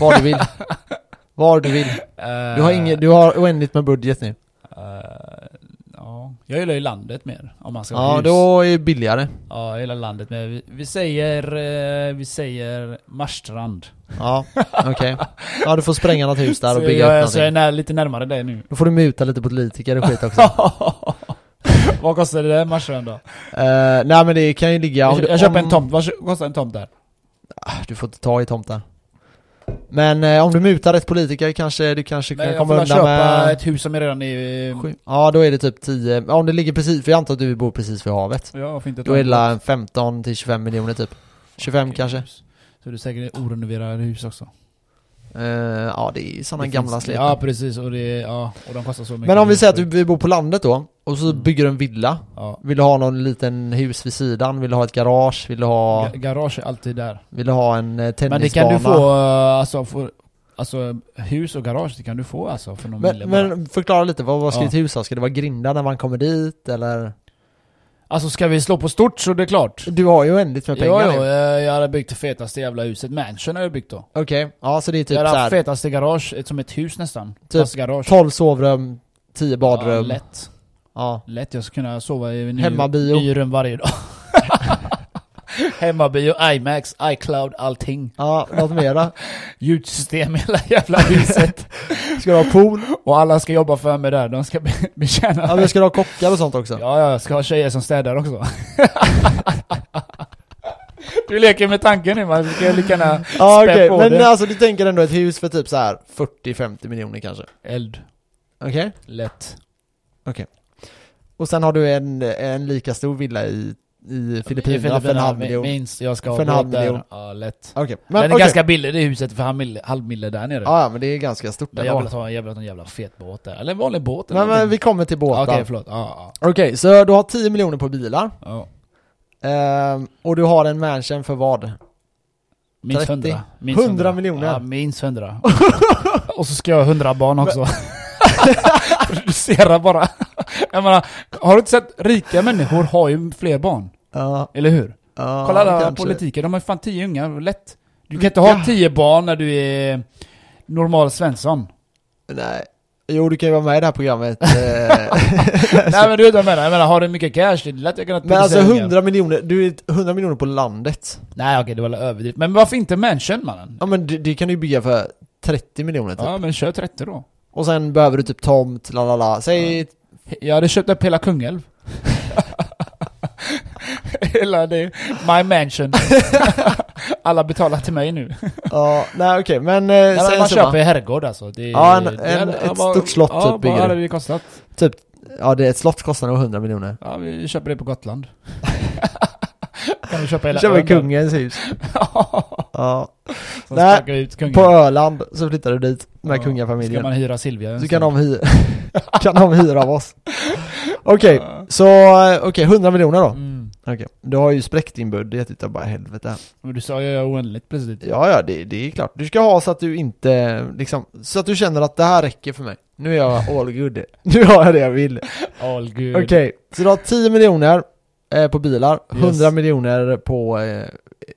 S1: Var du vill. Var du vill.
S2: Eh,
S1: Du har, ingen, du har oändligt med budget nu.
S2: ja. Jag gillar ju landet mer. Om man ska ha
S1: Ja,
S2: hus.
S1: då är det billigare.
S2: Ja, hela landet med. Vi, vi säger... eh, vi säger Marstrand.
S1: Ja, okej. Ja, du får spränga något hus där och
S2: Så
S1: bygga
S2: jag,
S1: upp
S2: så jag är
S1: någonting.
S2: när, lite närmare dig nu.
S1: Då får du muta lite politiker och skit också.
S2: Vad kostar det där Marstrand då?
S1: Eh, nej men det kan ju ligga... om
S2: jag,
S1: du-
S2: jag köper
S1: om-
S2: en tomt, vad kö- kostar en tomt där?
S1: Ah, Du får inte ta i tomten. Men eh, om du mutar ett politiker kanske du kanske
S2: Men
S1: kan
S2: jag
S1: komma
S2: får väl
S1: undan
S2: köpa
S1: med...
S2: ett hus som är redan i...
S1: Sju. Ja då är det typ 10, om det ligger precis, för jag antar att du bor precis vid havet.
S2: Ja, varför inte
S1: Då är det la 15 till 25 miljoner typ. 25 kanske.
S2: Så du säkert orenoverade hus också?
S1: Eh, ja det är ju sådana
S2: Det
S1: gamla
S2: finns-
S1: släp.
S2: Ja precis, och, det, ja, och de kostar så mycket.
S1: men om vi säger att du vi bor på landet då, och så
S2: Mm.
S1: bygger du en villa.
S2: Ja.
S1: Vill du ha någon liten hus vid sidan? Vill du ha ett garage? Vill du ha,
S2: Ga- Garage är alltid där.
S1: vill du ha en eh, tennisbana?
S2: Men det kan du få, eh, alltså, få, alltså hus och garage, det kan du få alltså för någon mille
S1: Men,
S2: bara.
S1: men förklara lite, vad, vad ska
S2: Ja.
S1: ditt hus ha? Ska det vara grindar när man kommer dit eller?
S2: Alltså ska vi slå på stort så det är klart.
S1: Du har ju oändligt med pengar
S2: Ja,
S1: nu.
S2: ja, eh, jag hade byggt det fetaste jävla huset, mansion har jag byggt då.
S1: Okej, ja så det är typ
S2: jag hade haft
S1: såhär
S2: fetaste garage, ett, som ett hus nästan. Fast garage.
S1: 12 sovrum, 10 badrum.
S2: Ja,
S1: Ja,
S2: lätt. Lätt, jag ska kunna sova i en ny,
S1: Hemmabio.
S2: ny rum varje dag. Hemmabio, IMAX, iCloud, allting.
S1: Ja, något mer då?
S2: Ljudsystem i hela jävla huset.
S1: Ska du ha pool?
S2: och alla ska jobba för mig där, de ska be- betjäna
S1: Ja,
S2: mig.
S1: men ska du ha kockar och sånt också?
S2: Ja, jag ska ha tjejer som städar också. du leker med tanken nu, man ska ju lika gärna
S1: Ja,
S2: spä
S1: okej,
S2: på
S1: men
S2: det.
S1: alltså du tänker ändå ett hus för typ så här 40-50 miljoner kanske?
S2: Eld,
S1: Okej?
S2: lätt.
S1: Och sen har du en, en lika stor villa i, i Filippinerna för en halv
S2: min-
S1: miljon?
S2: Minst, jag ska ha
S1: För en
S2: båt
S1: halv
S2: där.
S1: miljon.
S2: Ja, lätt.
S1: Okej,
S2: Men,
S1: men
S2: Den är
S1: okej.
S2: ganska billig, det huset för halv mille, halv mille där nere.
S1: Ja, ja, men det är ganska stort
S2: Men jag vill
S1: ändå.
S2: att ha en jävla, en jävla fet båt där. Eller en vanlig båt eller
S1: Men, men vi kommer till båtar.
S2: båtar. Okej,
S1: Okej,
S2: förlåt. Ja,
S1: så du har 10 miljoner på bilar.
S2: ja, ja.
S1: ehm, och du har en mansion för vad?
S2: Minst
S1: 30.
S2: 100. Minst
S1: 100 miljoner.
S2: Ja, minst 100. Och så ska jag ha 100 barn också. Producera bara. Jag menar, har du inte sett? Rika människor har ju fler barn.
S1: Ja,
S2: Eller hur?
S1: ja,
S2: Kolla alla
S1: kanske. Mm,
S2: politiker, de har ju fan 10 ungar, lätt. Du kan inte ha
S1: Ja.
S2: 10 barn när du är normal Svensson.
S1: Nej. Jo, du kan ju vara med i det här programmet. eh.
S2: Nej men du vet vad jag menar, jag menar har du mycket cash, det är lätt jag kan
S1: men
S2: producera
S1: alltså
S2: ungar.
S1: 100 miljoner, du är 100 miljoner på landet.
S2: Nej okej, det var väl överdrivet. Men varför inte mansion mannen?
S1: Ja men det, det kan du ju bygga för 30 miljoner typ.
S2: Ja men kör 30 då.
S1: Och sen behöver du typ tomt, la la la. Säg...
S2: Jag hade köpt upp hela Kungälv. hela det, my mansion. Alla betalar till mig nu.
S1: Ja, nej okej men... Eh,
S2: Nej,
S1: säg
S2: men
S1: en
S2: man
S1: summa.
S2: köper herrgård alltså. Det,
S1: Ja, en-
S2: det
S1: en-
S2: hade-
S1: ett
S2: ja, vad-
S1: stort slott
S2: ja,
S1: typ
S2: vad
S1: bygger
S2: hade
S1: du.
S2: det kostat?
S1: Ja, det, ett slott kostar nog 100 miljoner.
S2: Ja, vi köper det på Gotland. kan vi köpa
S1: Då
S2: hela
S1: kör vi
S2: ön där?
S1: kungens hus. ja.
S2: Så
S1: Nej,
S2: sparkar vi ut kungen.
S1: På Öland så flyttar du dit med
S2: Ja, Ska
S1: kungafamiljen.
S2: man hyra Silvia?
S1: Så kan de, hy- kan de hyra av oss. Okej, så eh, okej 100 miljoner då.
S2: Mm.
S1: Okej, du har ju spräckt din budget utav bara helvete.
S2: Men du sa ju jag är oändligt plötsligt.
S1: Ja, ja, det, det är klart. Du ska ha så att du inte, liksom, så att du känner att det här räcker för mig. Nu är jag all good. Nu har jag det jag vill.
S2: All good.
S1: Okej, så du har 10 miljoner eh, på bilar, 100
S2: Yes.
S1: miljoner på eh,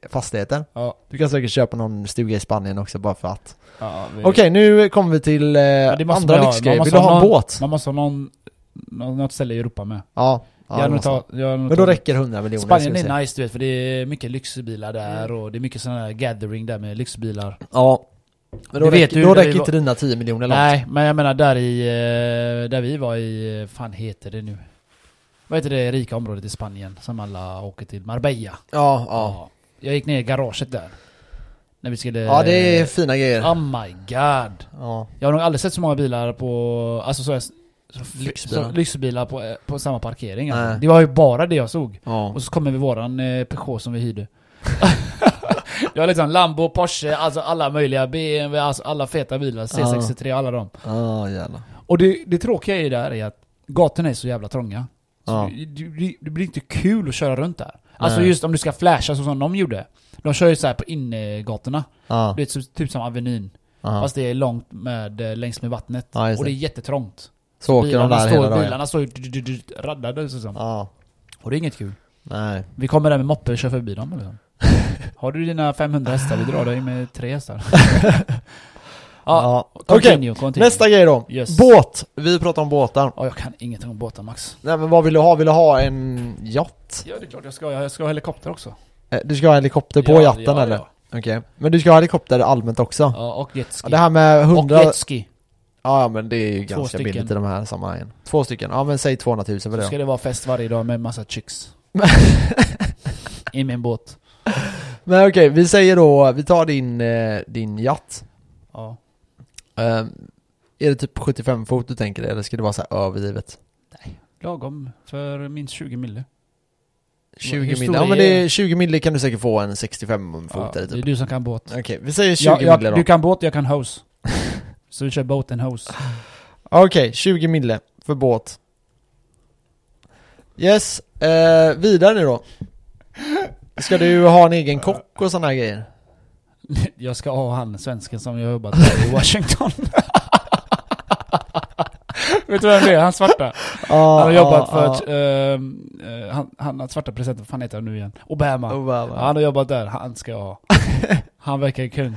S1: fastigheter.
S2: Ja,
S1: Du kan säkert köpa någon stuga i Spanien också bara för att.
S2: ja, vi-
S1: Okej, nu kommer vi till eh,
S2: det måste man
S1: andra
S2: ha. Man
S1: lyxgrejer.
S2: måste
S1: Vill du ha en
S2: ha någon-
S1: båt?
S2: Man måste ha någon, nå- något ställe i Europa med.
S1: Ja.
S2: jag
S1: ja
S2: hade
S1: det
S2: nog
S1: måste.
S2: ta- jag hade nog
S1: Men då
S2: tagit-
S1: räcker 100 miljoner.
S2: Spanien
S1: ska vi Mm.
S2: är
S1: säga.
S2: nice du vet, för det är mycket lyxbilar där och det är mycket sådana här gathering där med lyxbilar.
S1: Ja. Men då
S2: Du vet
S1: räcker,
S2: ju
S1: då
S2: hur det
S1: räcker
S2: var-
S1: inte dina 10 miljoner långt.
S2: Nej, men jag menar där i, eh, där vi var i, eh, fan heter det nu? Vad heter det rika området i Spanien som alla åker till? Marbella.
S1: Ja, ja.
S2: Jag gick ner i garaget där. När vi skulle...
S1: Ja, det är fina grejer.
S2: Oh my god.
S1: Ja.
S2: Jag har nog aldrig sett så många bilar på, alltså så, så,
S1: Lyxbilar.
S2: så, lyxbilar på, eh, på samma parkering.
S1: Nej.
S2: Alltså. Det var ju bara det jag såg.
S1: Ja.
S2: Och så kommer vi våran eh, Peugeot som vi hyrde. Jag har liksom Lambo, Porsche, alltså alla möjliga BMW, alltså alla feta bilar, C63 och alla dem.
S1: Ja Ah, jävlar.
S2: Och det, det tråkiga är ju där är att gatorna är så jävla trånga. Så
S1: Ja.
S2: det, det, det blir inte kul att köra runt där. Alltså
S1: Nej.
S2: just om du ska flasha så som de gjorde. De kör ju så här på innergatorna.
S1: Ja.
S2: Du vet, så- typ som Avenyn.
S1: ja.
S2: Fast det är långt med, eh, längs med vattnet.
S1: Ja, just
S2: och det är
S1: det.
S2: jättetrångt.
S1: Så åker de
S2: Bilarna
S1: där hela
S2: står,
S1: dagen.
S2: bilarna står ju d- d- d- raddade så som.
S1: Ja.
S2: Och det är inget kul.
S1: Nej.
S2: Vi kommer där med moppe och kör förbi dem liksom. Har du dina 500 hästar? Vi drar dig med tre hästar. ja,
S1: Ja. Okej,
S2: continue, continue.
S1: nästa grej då.
S2: Yes.
S1: Båt. Vi pratar om båtar.
S2: Ja, jag kan ingenting om båtar Max.
S1: Nej men vad vill du ha? Vill du ha en yacht?
S2: Ja, det är klart jag ska. Jag ska ha helikopter också.
S1: Eh, Du ska ha helikopter på
S2: ja,
S1: yachten
S2: ja,
S1: eller?
S2: Ja.
S1: Okej. Men du ska ha helikopter allmänt också?
S2: ja, och jetski.
S1: Ja, Det här med
S2: och
S1: 100...
S2: jetski.
S1: Ja, ja men det är ju
S2: Två
S1: ganska
S2: stycken.
S1: billigt i de här sammanhangen. Två stycken, ja men säg 200 000 för
S2: Så
S1: det.
S2: ska det vara fest varje dag med massa chicks. I min båt.
S1: Men okej, vi säger då, vi tar din, eh, din yacht.
S2: Ja.
S1: Ehm, är det typ 75 fot du tänker dig eller ska det vara så här överdrivet?
S2: Lagom för minst 20 mille. Hur
S1: 20
S2: stor
S1: mil, ja
S2: är-
S1: men det är 20 mil kan du säkert få en 65
S2: Ja,
S1: fotare
S2: det är
S1: typ.
S2: du som kan båt.
S1: Okej, vi säger 20
S2: Ja,
S1: mille
S2: jag,
S1: då.
S2: Du kan båt, jag kan hose. Så vi kör boat and hose.
S1: Okej, 20 mille för båt. Yes, eh, vidare nu då. Ska du ha en egen kock och sådana här grejer?
S2: Jag ska ha han svensken som jag har jobbat med i Washington. Vet du vem det är? Han svarta. Han har jobbat för... ehm, eh, han, han har svarta presenter, vad fan heter han nu igen? Obama. Oh, Ja,
S1: Obama.
S2: Han har jobbat där, han ska jag ha. Han verkar kung.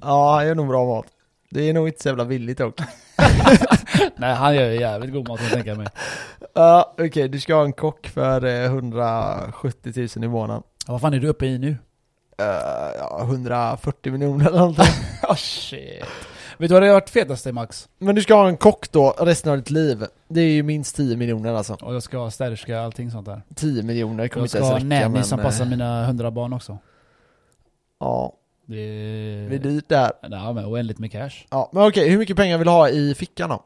S1: Ja, han gör nog bra mat. Det är nog inte så jävla billigt dock.
S2: Nej, han gör ju jävligt god mat kan jag tänka mig.
S1: Ja, Okej, du ska ha en kock för eh, 170 000 i månaden.
S2: Ja, vad fan är du uppe i nu?
S1: Eh, ja, 140 miljoner eller någonting.
S2: Oh shit. Vet du vad det har varit fetaste Max?
S1: Men du ska ha en kock då resten av ditt liv. Det är ju minst 10 miljoner alltså.
S2: Och jag ska ha städerska och allting sånt där.
S1: 10 miljoner kommer
S2: Jag
S1: inte
S2: ska
S1: ens
S2: ha
S1: räcka.
S2: nanny
S1: men,
S2: som
S1: eh,
S2: passar mina hundra barn också.
S1: Ja,
S2: Det
S1: det är
S2: är...
S1: dyrt det här.
S2: Nej, men oändligt med cash.
S1: Ja, men okej, hur mycket pengar vill du ha i fickan då?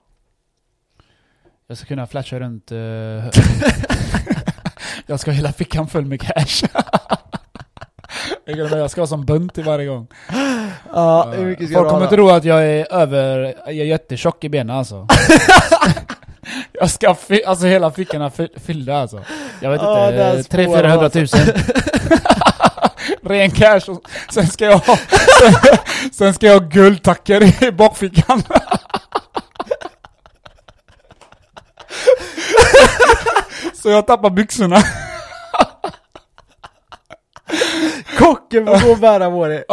S2: Jag ska kunna flasha runt... eh, jag ska ha hela fickan full med cash. Jag kan- jag ska ha som bunt i varje gång.
S1: Ja,
S2: Eh, Folk kommer tro att jag är över... Jag är jättetjock i benen alltså. jag ska ha fi- alltså hela fickorna fy- fyllda alltså. Jag vet
S1: Ja,
S2: inte,
S1: där
S2: eh,
S1: spårar
S2: 300
S1: man,
S2: 000 Ren cash och sen ska jag ha... Sen, sen ska jag ha guldtackor i bakfickan. Så jag tappar byxorna.
S1: Kocken får gå och bära på det.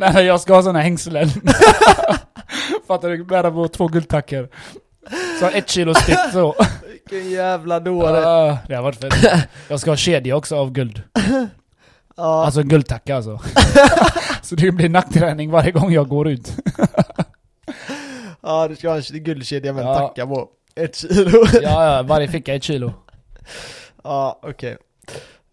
S2: Nej, jag ska ha såna hängslen. Fattar du? Bära på två guldtackor. Så ett kilo styck så.
S1: Vilken jävla dåre.
S2: Ah, det har varit fett. Jag ska ha kedja också av guld.
S1: Ja.
S2: Alltså en guldtacka alltså. Så det blir nackträning varje gång jag går ut.
S1: ja, du ska ha en guldkedja med en
S2: Ja.
S1: tacka på. Ett kilo.
S2: Ja, ja, varje ficka ett kilo.
S1: Ja, okej.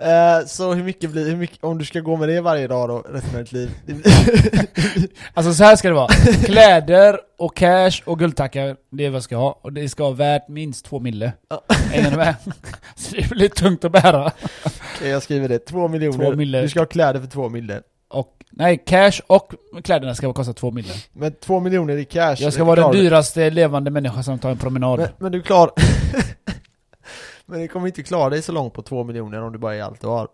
S1: Eh, så hur mycket blir, hur mycket, om du ska gå med det varje dag då, resten av ditt liv? Det blir-
S2: Alltså så här ska det vara. Kläder och cash och guldtackar, det är vad jag ska ha. Och det ska vara värt minst två mille.
S1: Ja.
S2: Hänger du med? Så det blir tungt att bära.
S1: Okej, jag skriver det, två miljoner.
S2: Två mille.
S1: Du ska ha kläder för två miljoner.
S2: Och, nej, cash och kläderna ska kosta två mille.
S1: Men två miljoner i cash.
S2: Jag
S1: är
S2: ska vara den
S1: klart.
S2: dyraste levande människan som tar en promenad.
S1: Men, men du klarar... men du kommer inte klara dig så långt på två miljoner om du bara är allt du har.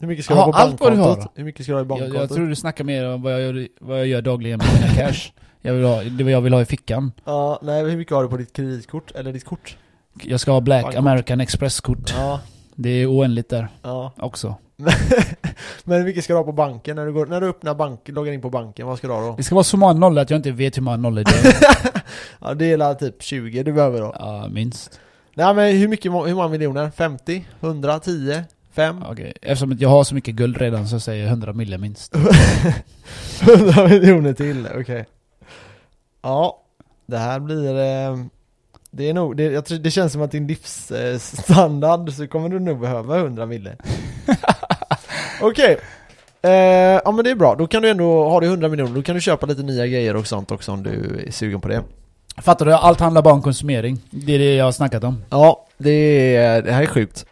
S1: Hur mycket ska du
S2: Jaha,
S1: ha på
S2: allt vad du
S1: bankkontot?
S2: har?
S1: Hur mycket ska du ha i
S2: jag,
S1: bankkontot?
S2: jag tror du snackar mer om vad jag, gör- vad jag gör dagligen med mina cash. Jag vill ha, det jag vill ha i fickan.
S1: Ja, nej hur mycket har du på ditt kreditkort? Eller ditt kort?
S2: Jag ska ha Black
S1: Bankkort.
S2: American Express-kort.
S1: Ja,
S2: Det är oändligt där
S1: ja.
S2: också.
S1: Men hur mycket ska du ha på banken? När du, går, när du öppnar bank, loggar in på banken, vad ska du ha då?
S2: Det ska vara så många nollor att jag inte vet hur många nollor det är.
S1: Ja, det är väl typ 20 du behöver då.
S2: ja, minst.
S1: Nej men hur mycket, hur många miljoner? 50? 100? 10? 5?
S2: Okej. Eftersom jag har så mycket guld redan så säger jag 100 mille minst.
S1: 100 miljoner till, okej. Ja, det här blir... eh, Det är nog, det, jag tror, det känns som att din livsstandard så kommer du nog behöva 100 mille. okej. Eh, ja men det är bra, då kan du ändå, har du 100 miljoner, då kan du köpa lite nya grejer och sånt också om du är sugen på det.
S2: Fattar du? Allt handlar bara om konsumering. Det är det jag har snackat om.
S1: Ja, det, är, det här är sjukt.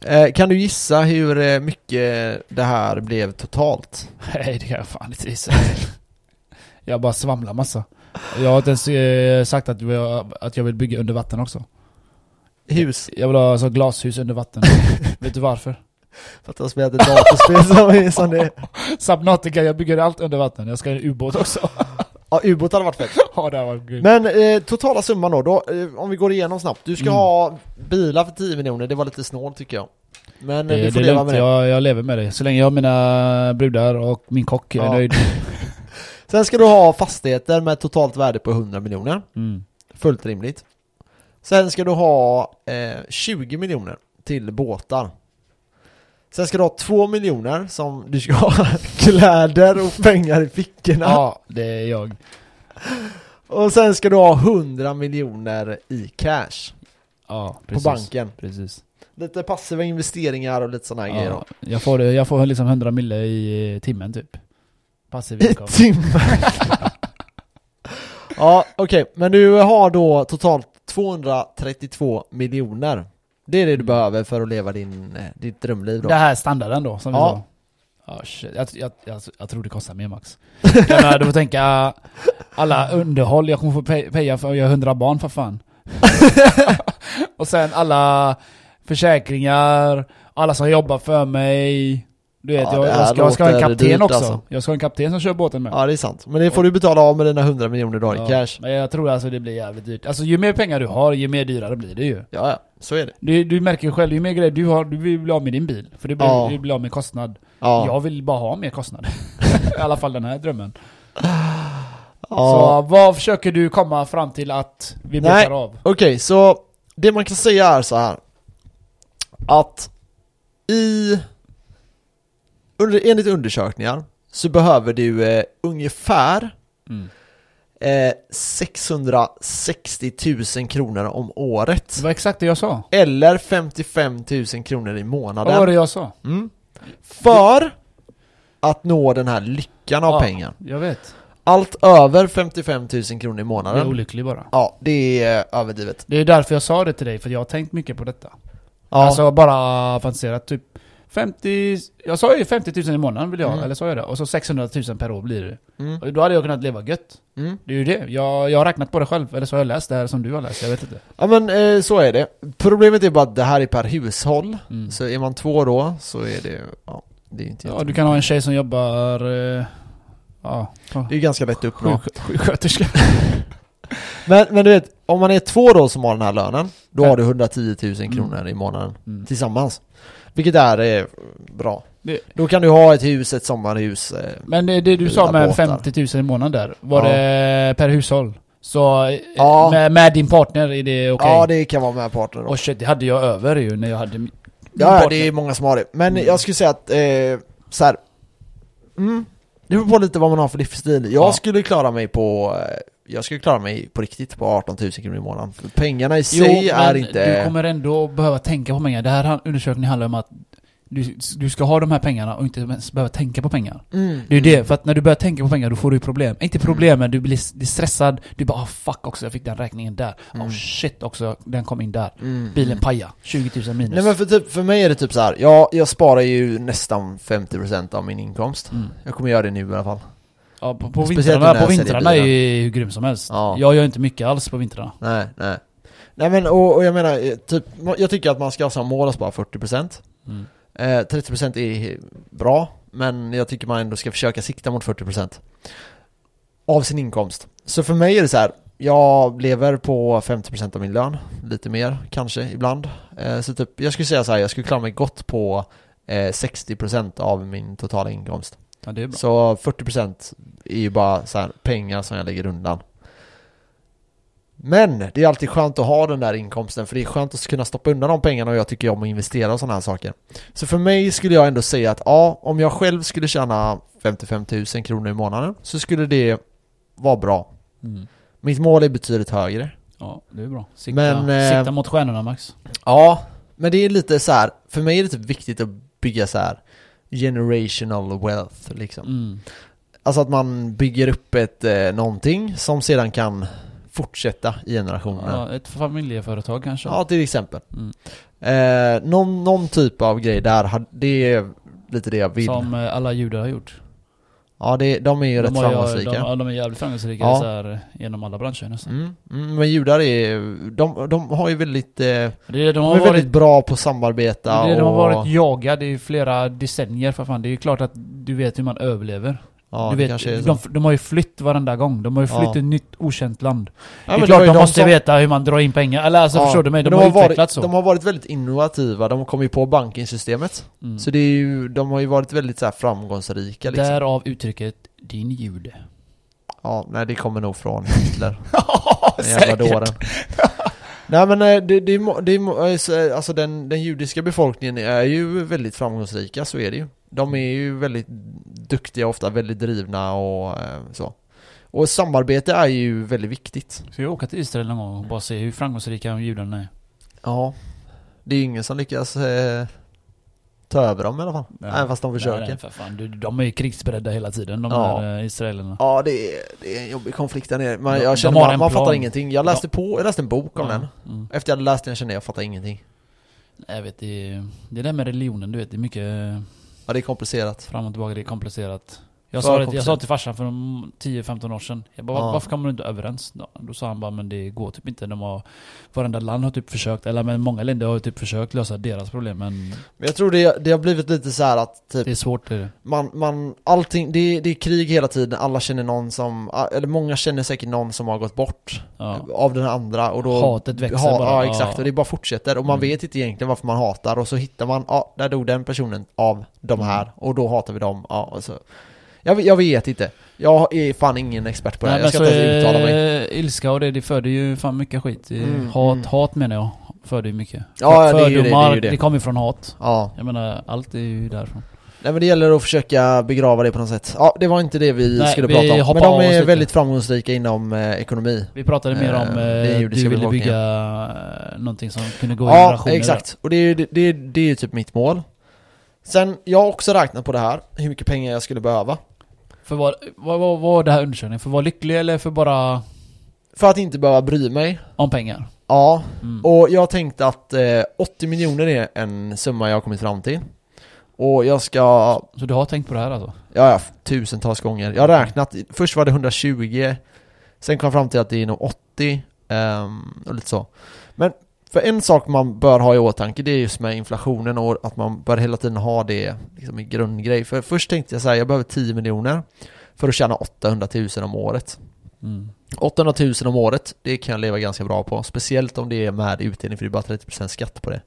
S1: Eh, kan du gissa hur eh, mycket det här blev totalt?
S2: Nej, det kan jag fan inte gissa. jag bara svamlar massa. Jag har inte ens eh, sagt att jag, att jag vill bygga under vatten också.
S1: Hus?
S2: Jag vill ha så glashus under vatten. Vet du varför?
S1: För att jag spelat ett datorspel som, är- som det
S2: Subnautica, jag bygger allt under vatten. Jag ska ha en ubåt också.
S1: Ja, ubåt hade varit fett.
S2: ja, det här var grymt.
S1: Men eh, totala summan då, då eh, om vi går igenom snabbt. Du ska
S2: Mm.
S1: ha bilar för 10 miljoner, det var lite snålt tycker jag. Men eh,
S2: Det,
S1: du
S2: det
S1: får
S2: är
S1: leva
S2: lugnt,
S1: med det.
S2: jag, jag lever med det. Så länge jag har mina brudar och min kock, jag är
S1: Ja.
S2: nöjd.
S1: Sen ska du ha fastigheter med totalt värde på 100 miljoner.
S2: Mm.
S1: Fullt rimligt. Sen ska du ha eh, 20 miljoner till båtar. Sen ska du ha 2 miljoner som du ska ha kläder och pengar i fickorna.
S2: Ja, det är jag.
S1: Och sen ska du ha 100 miljoner i cash
S2: Ja,
S1: på
S2: precis.
S1: banken.
S2: Precis.
S1: Lite passiva investeringar och lite sådana här grejer då.
S2: Ja, jag, får, det- jag får liksom 100 mille i timmen typ. Passiv
S1: I
S2: inkomst.
S1: timmar. ja, okej. Men du har då totalt 232 miljoner. Det är det du behöver för att leva din, eh, ditt drömliv då.
S2: Det här är standarden då, som
S1: Ja.
S2: vi sa. Ja, shit. Jag, jag, jag, jag tror det kostar mer max. Jag menar, du får tänka alla underhåll jag kommer få pe- peja för, jag har hundra barn för fan. och sen alla försäkringar, alla som jobbar för mig. Du vet,
S1: Ja,
S2: jag,
S1: det här
S2: jag, ska, jag ska ha en
S1: låter
S2: kapten
S1: dyrt,
S2: också.
S1: alltså.
S2: Jag ska ha en kapten som kör båten med.
S1: Ja, det är sant. Men det får du betala av med dina 100 miljoner då i
S2: Ja,
S1: cash.
S2: Men jag tror alltså det blir jävligt dyrt. Alltså ju mer pengar du har, ju mer dyrare blir det ju.
S1: Ja, ja. Så är det.
S2: Du, du märker ju själv, ju mer grejer du har, du vill bli av med din bil. För du blir,
S1: Ja.
S2: du blir av med kostnad.
S1: Ja.
S2: Jag vill bara ha mer kostnad. I alla fall den här drömmen.
S1: ja.
S2: Så vad försöker du komma fram till att vi
S1: Nej.
S2: betar av?
S1: Okej, så det man kan säga är så här. Att i... Under, enligt undersökningar så behöver du eh, ungefär
S2: Mm.
S1: eh, 660 000 kronor om året.
S2: Det var exakt det jag sa.
S1: Eller 55 000 kronor i
S2: Vad var
S1: månaden.
S2: det jag sa?
S1: Mm. För att nå den här lyckan av
S2: Ja.
S1: pengar.
S2: Jag vet.
S1: Allt över 55 000 kronor i
S2: Jag är
S1: månaden.
S2: olycklig bara.
S1: Ja, det är eh, överdrivet.
S2: Det är därför jag sa det till dig, för jag har tänkt mycket på detta.
S1: Ja,
S2: Alltså bara fantiserat typ 50... Jag sa ju 50 000 i månaden vill jag,
S1: Mm.
S2: eller sa jag det? Och så 600 000 per år blir det.
S1: mm,
S2: Och då hade jag kunnat leva gött.
S1: mm.
S2: Det är ju det. Jag, jag har räknat på det själv, eller så har jag läst det här som du har läst, jag vet inte.
S1: ja men eh, så är det. Problemet är bara att det här är per hushåll.
S2: Mm.
S1: Så är man två då så är det, ja, det är ju inte
S2: Ja,
S1: jättemycket.
S2: du kan ha en tjej som jobbar... Eh, ja, ja,
S1: Det är ganska lätt att uppnå.
S2: sjuk- sjuksköterska.
S1: Men, men du vet, om man är två då som har den här lönen, då
S2: Ja. Mm.
S1: har du 110 000 kronor i månaden tillsammans. Vilket är eh, bra.
S2: Det-
S1: Då kan du ha ett hus, ett sommarhus. Eh,
S2: Men det, det du
S1: Fyra
S2: sa med
S1: båtar.
S2: 50 000 i månaden där, var
S1: Ja.
S2: det per hushåll? Så eh,
S1: Ja.
S2: med, med din partner är det okej?
S1: Ja, det kan vara med partner då.
S2: Och shit, det hade jag över ju när jag hade min min
S1: Ja,
S2: partner.
S1: det är många som har det. Men
S2: Mm.
S1: jag skulle säga att, eh, så här, mm, det beror på lite vad man har för livsstil. Jag
S2: Ja.
S1: skulle klara mig på, eh, jag skulle klara mig på riktigt på 18 000 kronor i månaden. För pengarna i
S2: Jo,
S1: sig är
S2: men
S1: inte...
S2: du kommer ändå behöva tänka på pengar. Det här han- undersökningen handlar om att du, du ska ha de här pengarna och inte ens behöva tänka på pengar.
S1: Mm.
S2: Det är ju det, för att när du börjar tänka på pengar då får du ju problem. Inte problem, men du blir s- blir stressad. Du bara ah 'fuck också, jag fick den räkningen där.
S1: Mm.
S2: Oh shit också, den kom in där.
S1: Mm.
S2: Bilen paja, 20 000 minus.
S1: Nej men för, typ, för mig är det typ så här. Jag, jag sparar ju nästan 50% av min inkomst.
S2: mm.
S1: Jag kommer göra det nu i alla fall.
S2: Ja, på, på
S1: Speciellt
S2: vintrarna,
S1: när
S2: på
S1: jag säljer
S2: vintrarna är
S1: bilen.
S2: ju hur grym som helst.
S1: Ja.
S2: Jag gör inte mycket alls på vintrarna.
S1: Nej, nej. Nej men och, och jag menar, eh, typ, ma- jag tycker att man ska ha som mål att spara 40%.
S2: Mm.
S1: Eh, 30% är bra, men jag tycker man ändå ska försöka sikta mot 40% av sin inkomst. Så för mig är det så här. Jag lever på 50% av min lön, lite mer kanske ibland. Eh, så typ, jag skulle säga så här, jag skulle klara mig gott på eh, 60% av min totala inkomst.
S2: Ja, det är bra.
S1: Så 40% är ju bara så här pengar som jag lägger undan. Men det är alltid skönt att ha den där inkomsten för det är skönt att kunna stoppa undan de pengarna och jag tycker om att investera och sådana här saker. Så för mig skulle jag ändå säga att ja, om jag själv skulle tjäna 55 000 kronor i månaden så skulle det vara bra.
S2: Mm.
S1: Mitt mål är betydligt högre.
S2: Ja, det är bra. Sikta,
S1: Men, eh,
S2: sikta mot stjärnorna Max.
S1: Ja, men det är lite så här. för mig är det typ viktigt att bygga så här generational wealth liksom.
S2: Mm.
S1: Alltså att man bygger upp ett eh, någonting som sedan kan fortsätta i generationer. Ja,
S2: Ja, ett familjeföretag kanske.
S1: till exempel.
S2: Mm.
S1: Eh, någon, någon typ av grej där, hade- det är lite det jag vill.
S2: Som eh, alla judar har gjort.
S1: Ja, det, de är ju rätt
S2: har ju-
S1: framgångsrika.
S2: De, ja, de är jävligt framgångsrika
S1: Ja.
S2: så här, eh, genom alla branscher nästan.
S1: Mm, mm, men judar är, de, de har ju väldigt, eh, de
S2: Det är det de
S1: är
S2: har
S1: väldigt
S2: varit,
S1: bra på att samarbeta
S2: det är det de har
S1: och,
S2: varit jagade i flera decennier för fan. Det är ju klart att du vet hur man överlever.
S1: ja,
S2: du
S1: det
S2: vet,
S1: kanske är så.
S2: de, de har ju flytt varenda gång. De har ju
S1: Ja.
S2: flytt till ett nytt okänt land.
S1: Ja,
S2: det
S1: men
S2: är
S1: var
S2: klart
S1: ju
S2: de,
S1: de
S2: måste
S1: som-
S2: veta hur man drar in pengar. Eller alltså
S1: ja,
S2: förstår du mig?
S1: men
S2: De, har,
S1: varit-
S2: utvecklats så.
S1: De har varit väldigt innovativa, de kom ju på bankingsystemet.
S2: mm.
S1: Så det är ju, de har ju varit väldigt så här framgångsrika liksom.
S2: Därav uttrycket 'din jude'.
S1: Ja, nej det kommer nog från Hitler. Den jävla dåren. Nej men eh, det, det, är må- det, är må- eh, så, eh, alltså den, den judiska befolkningen är ju väldigt framgångsrika, så är det ju. De är ju väldigt duktiga, ofta väldigt drivna och eh, så. Och samarbete är ju väldigt viktigt.
S2: Ska jag åka till Israel någon gång och bara se hur framgångsrika judarna är?
S1: Ja. Det är ju ingen som lyckas eh, ta över dem i alla fall.
S2: Nej.
S1: Även fast de försöker.
S2: Nej, nej, för fan. Du, de är ju krigsberedda hela tiden, de
S1: Ja.
S2: där eh, israelerna.
S1: Ja, det är, det är en jobbig konflikt där nere. Man,
S2: De-
S1: jag
S2: de
S1: känner,
S2: har
S1: man,
S2: en
S1: man fattar
S2: plan.
S1: ingenting. Jag läste på, jag läste en bok om den.
S2: Mm.
S1: Efter jag hade läst den kände jag, jag fattar ingenting.
S2: Jag vet, det, är- det där med religionen, du vet, det är mycket eh,
S1: Ja, det är komplicerat.
S2: fram och tillbaka, det är komplicerat. Jag
S1: För
S2: sa, det, jag
S1: komplicerat.
S2: sa till farsan för de 10-15 år sedan, jag bara,
S1: Ja.
S2: varför kommer du inte överens? Då, då sa han bara, men det går typ inte. De har, varenda land har typ försökt, eller men många länder har typ försökt lösa deras problem, men
S1: Men jag tror det, det har blivit lite så här att typ,
S2: det är svårt. Det. är det.
S1: man, man, allting, det, är- det är krig hela tiden, alla känner någon som, eller många känner säkert någon som har gått bort
S2: Ja.
S1: av den här andra och då
S2: Hatet växer
S1: ha,
S2: bara.
S1: Ja, exakt. Och det
S2: Ja.
S1: bara fortsätter. Och man
S2: Mm.
S1: vet inte egentligen varför man hatar. Och så hittar man, ja, där dog den personen av de
S2: Mm.
S1: här. Och då hatar vi dem. Ja, och så. Jag, vet- jag vet inte. Jag är fan ingen expert på det här. Jag ska inte ens uttala mig.
S2: eh, ilska och det, det föder ju fan mycket skit. Det-
S1: Mm,
S2: hat,
S1: mm.
S2: hat menar jag. Föder ju mycket.
S1: Ja, ja, det är ju det, det är ju
S2: Fördomar,
S1: det.
S2: det kommer ju från hat.
S1: Ja.
S2: Jag menar, allt är ju därifrån.
S1: Nej men det gäller att försöka begrava det på något sätt. Ja, det var inte det vi
S2: Nej,
S1: skulle
S2: vi
S1: prata om.
S2: hoppar
S1: Men
S2: av
S1: de
S2: oss
S1: är
S2: lite.
S1: väldigt framgångsrika inom eh, ekonomi.
S2: Vi pratade mer
S1: Eh,
S2: om
S1: det
S2: eh, du
S1: judiska
S2: ville
S1: befolkningen.
S2: bygga eh, någonting som kunde gå i
S1: Ja,
S2: generationer.
S1: exakt. Och det är, det, det, det är ju typ mitt mål. Sen, jag har också räknat på det här, hur mycket pengar jag skulle behöva.
S2: För vad, vad, vad var det här undersökningen? För att vara lycklig eller för bara
S1: För att inte behöva bry mig.
S2: om pengar?
S1: Ja,
S2: Mm.
S1: och jag tänkte att eh, 80 miljoner är en summa jag har kommit fram till. Och jag ska
S2: Så du har tänkt på det här alltså?
S1: Ja, ja, tusentals gånger. Jag har räknat, först var det 120, sen kom jag fram till att det är nog 80, ehm, och lite så. Men för en sak man bör ha i åtanke, det är just med inflationen och att man bör hela tiden ha det liksom en grundgrej. För först tänkte jag så här, jag behöver 10 miljoner för att tjäna 800 000 om året.
S2: Mm.
S1: 800 000 om året, det kan jag leva ganska bra på. Speciellt om det är med utdelning, för det är bara 30% skatt på det.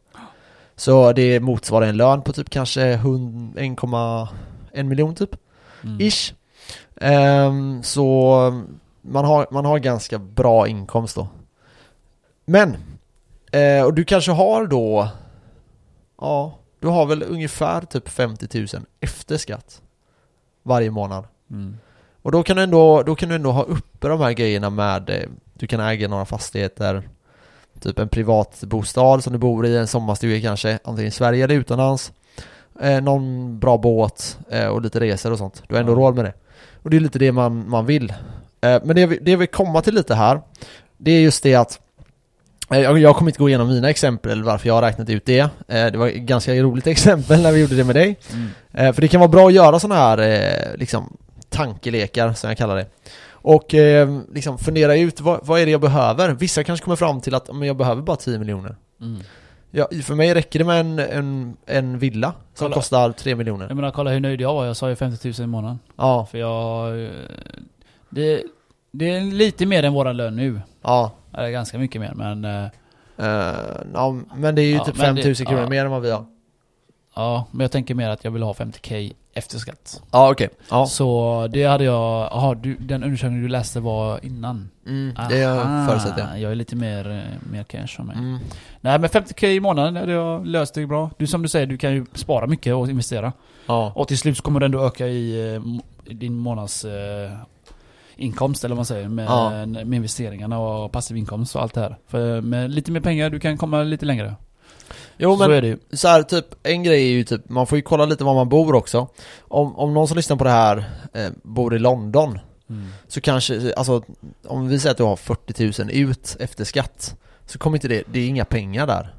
S1: Så det motsvarar en lön på typ kanske 100 1,1 miljon typ.
S2: Mm.
S1: Ish. Ehm, så man har, man har ganska bra inkomst då. Men, eh, och du kanske har då, ja, du har väl ungefär typ 50 000 efter skatt varje månad.
S2: Mm.
S1: Och då kan du ändå, då kan du ändå ha uppe de här grejerna med, eh, du kan äga några fastigheter, typ en privat bostad som du bor i, en sommarstuga kanske, antingen i Sverige eller utomlands. Eh, någon bra båt eh, och lite resor och sånt. Du har ändå
S2: Ja.
S1: råd med det. Och det är lite det man, man vill. Eh, men det jag, vill- det jag vill komma till lite här, det är just det att eh, jag, jag kommer inte gå igenom mina exempel eller varför jag har räknat ut det. Eh, det var ett ganska roligt exempel när vi gjorde det med dig.
S2: Mm.
S1: Eh, för det kan vara bra att göra sådana här eh, liksom, tankelekar, som jag kallar det. Och eh, liksom fundera ut vad, vad är det jag behöver? Vissa kanske kommer fram till att men jag behöver bara 10 miljoner.
S2: Mm.
S1: Ja, för mig räcker det med en, en, en villa som
S2: Kolla.
S1: kostar 3 miljoner.
S2: Jag menar kolla hur nöjd jag var. Jag sa ju 50 000 i månaden.
S1: Ja,
S2: För jag... eh, Det, det är lite mer än våra lön nu.
S1: ja.
S2: Eller ganska mycket mer men... eh,
S1: Eh, ja men det är ju
S2: Ja,
S1: typ
S2: men
S1: 5
S2: det-
S1: 000 kronor
S2: ja.
S1: mer än vad vi har.
S2: Ja, men jag tänker mer att jag vill ha 50k efter skatt.
S1: Ja, okej. Ja.
S2: Så det hade jag... Jaha, du- den undersökningen du läste var innan?
S1: Mm, det
S2: Aha,
S1: förutsätter jag.
S2: Jag är lite mer, eh, mer cash om mig.
S1: Mm.
S2: Nej men 50k i månaden hade jag löst det bra. Du som du säger, du kan ju spara mycket och investera.
S1: Ja.
S2: Och till slut så kommer du ändå öka i eh, m- din månads... Eh, inkomst eller vad man säger med,
S1: Ja.
S2: med investeringarna och passiv inkomst och allt det här. För eh, med lite mer pengar, du kan komma lite längre.
S1: Jo,
S2: så
S1: men
S2: är det ju.
S1: så här, typ, en grej är ju typ, man får ju kolla lite var man bor också. Om, om någon som lyssnar på det här eh, bor i London,
S2: Mm.
S1: Så kanske, alltså om vi säger att du har 40 000 ut efter skatt Så kommer inte det, det är inga pengar där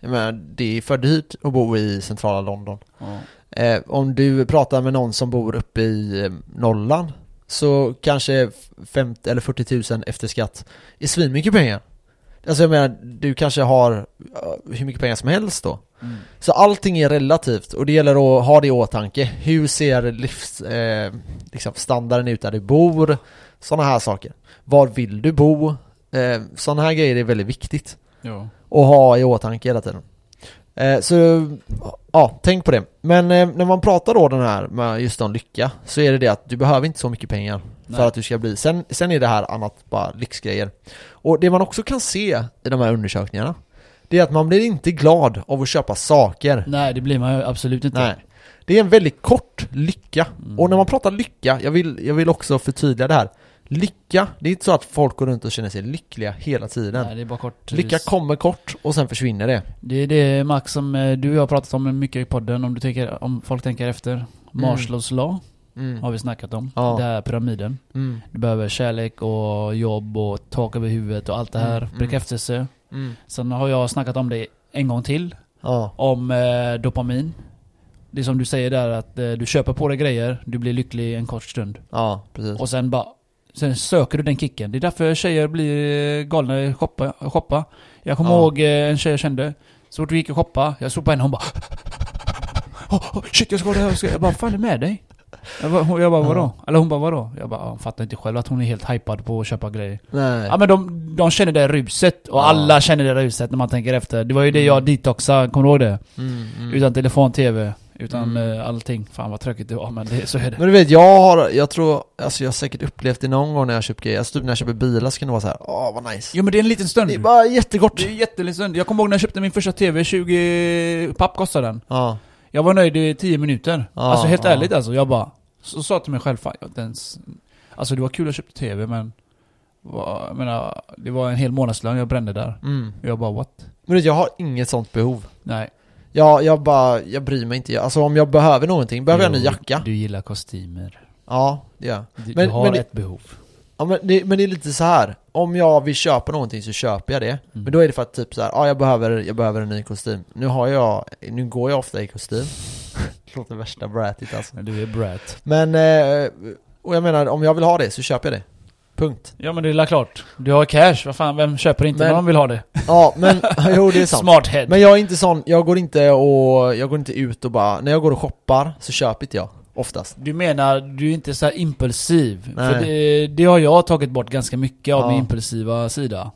S1: Jag menar, det är för dyrt att bo i centrala London
S2: Ja.
S1: eh, Om du pratar med någon som bor uppe i eh, Norrland Så kanske 50 eller 40 000 efter skatt är svinmycket pengar Alltså jag menar, du kanske har eh, hur mycket pengar som helst då
S2: Mm.
S1: så allting är relativt och det gäller att ha det i åtanke. Hur ser livsstandarden eh, liksom standarden ut där du bor? Sådana här saker. Var vill du bo? Eh, Sådana här grejer är väldigt viktigt
S2: Ja.
S1: att ha i åtanke hela tiden. Eh, så ja, tänk på det. Men eh, när man pratar då den här med just om lycka så är det det att du behöver inte så mycket pengar
S2: Nej.
S1: för att du ska bli. Sen, sen är det här annat bara lyxgrejer. Och det man också kan se i de här undersökningarna det är att man blir inte glad av att köpa saker.
S2: Nej, det blir man ju absolut inte.
S1: Nej. Det är en väldigt kort lycka.
S2: Mm.
S1: Och när man pratar lycka, jag vill, jag vill också förtydliga det här. Lycka, det är inte så att folk går runt och känner sig lyckliga hela tiden.
S2: Nej, det är bara kort. eh,
S1: lycka kommer kort och sen försvinner det.
S2: Det är det Max som eh, du och jag har pratat om mycket i podden, om, du tänker, om folk tänker efter. Marshalls law
S1: Mm.
S2: har vi snackat om.
S1: Ja.
S2: Det här pyramiden.
S1: Mm.
S2: Du behöver kärlek och jobb och tak över huvudet och allt det här.
S1: Mm, mm.
S2: Bekräftelse.
S1: Mm.
S2: Sen har jag snackat om det en gång till.
S1: Ja.
S2: Om eh, dopamin. Det är som du säger där att eh, du köper på dig grejer, du blir lycklig en kort stund.
S1: ja, precis.
S2: Och sen bara... Sen söker du den kicken. Det är därför tjejer blir eh, galna i shoppa. shoppa. Jag kommer
S1: Ja.
S2: ihåg eh, en tjej jag kände. Så fort vi gick och shoppa, jag såg på henne hon bara... Oh, oh, shit jag ska ha det här, jag ska... Jag bara, fan är det med dig? Jag bara, hon- jag bara vadå? Eller hon bara vadå? Jag bara, "Ja, hon fattar inte själv att hon är helt hypad på att köpa grejer.
S1: Nej.
S2: Ja men de, de känner det ruset, och
S1: Ja.
S2: alla känner det ruset när man tänker efter. Det var ju det jag detoxade, kommer du ihåg det?
S1: Mm, mm.
S2: Utan telefon, tv, utan
S1: Mm.
S2: eh, allting. Fan vad tråkigt det var, men det, så är det.
S1: Men du vet, jag har, jag tror, alltså jag har säkert upplevt det någon gång när jag köpt grejer. Alltså typ när jag köper bilar så kan det vara så här, åh vad nice.
S2: Jo men det är en liten stund.
S1: Det är bara jättekort.
S2: Det är en jätteliten stund. Jag kommer ihåg när jag köpte min första tv, 20 papp kostade den.
S1: Ja.
S2: Jag var nöjd i 10 minuter.
S1: Ja,
S2: alltså helt
S1: ja.
S2: ärligt alltså, jag bara... Så sa jag till mig själv, fan jag har inte ens... Alltså det var kul att jag köpte tv men... vad- Jag menar, det var en hel månadslön jag brände där.
S1: Mm.
S2: Jag bara what?
S1: Men du vet, jag har inget sånt behov.
S2: Nej.
S1: Jag, jag bara, jag bryr mig inte. Jag- Alltså om jag behöver någonting, behöver jag en ny
S2: Jo,
S1: jacka?
S2: Du gillar kostymer.
S1: Ja, det gör jag.
S2: Du,
S1: Men-
S2: du har
S1: men det-
S2: ett behov.
S1: Ja, men, det, men det är lite så här. om jag vill köpa någonting så köper jag det.
S2: Mm.
S1: Men då är det för att typ så här, ja ah, jag, behöver, jag behöver en ny kostym. Nu har jag, nu går jag ofta i kostym. Det Låter värsta bratigt alltså.
S2: Du är brat.
S1: Men, eh, och jag menar om jag vill ha det så köper jag det. Punkt.
S2: Ja men det är la klart. Du har cash, vad fan, vem köper inte
S1: Men-
S2: när de vill ha det?
S1: Ja men, jo det är sant.
S2: Smart head.
S1: Men jag är inte sån, jag går inte och, jag går inte ut och bara, när jag går och shoppar så köper inte jag. Oftast.
S2: Du menar, du är inte så här impulsiv?
S1: Nej.
S2: För det, det har jag tagit bort ganska mycket av
S1: Ja.
S2: min impulsiva sida.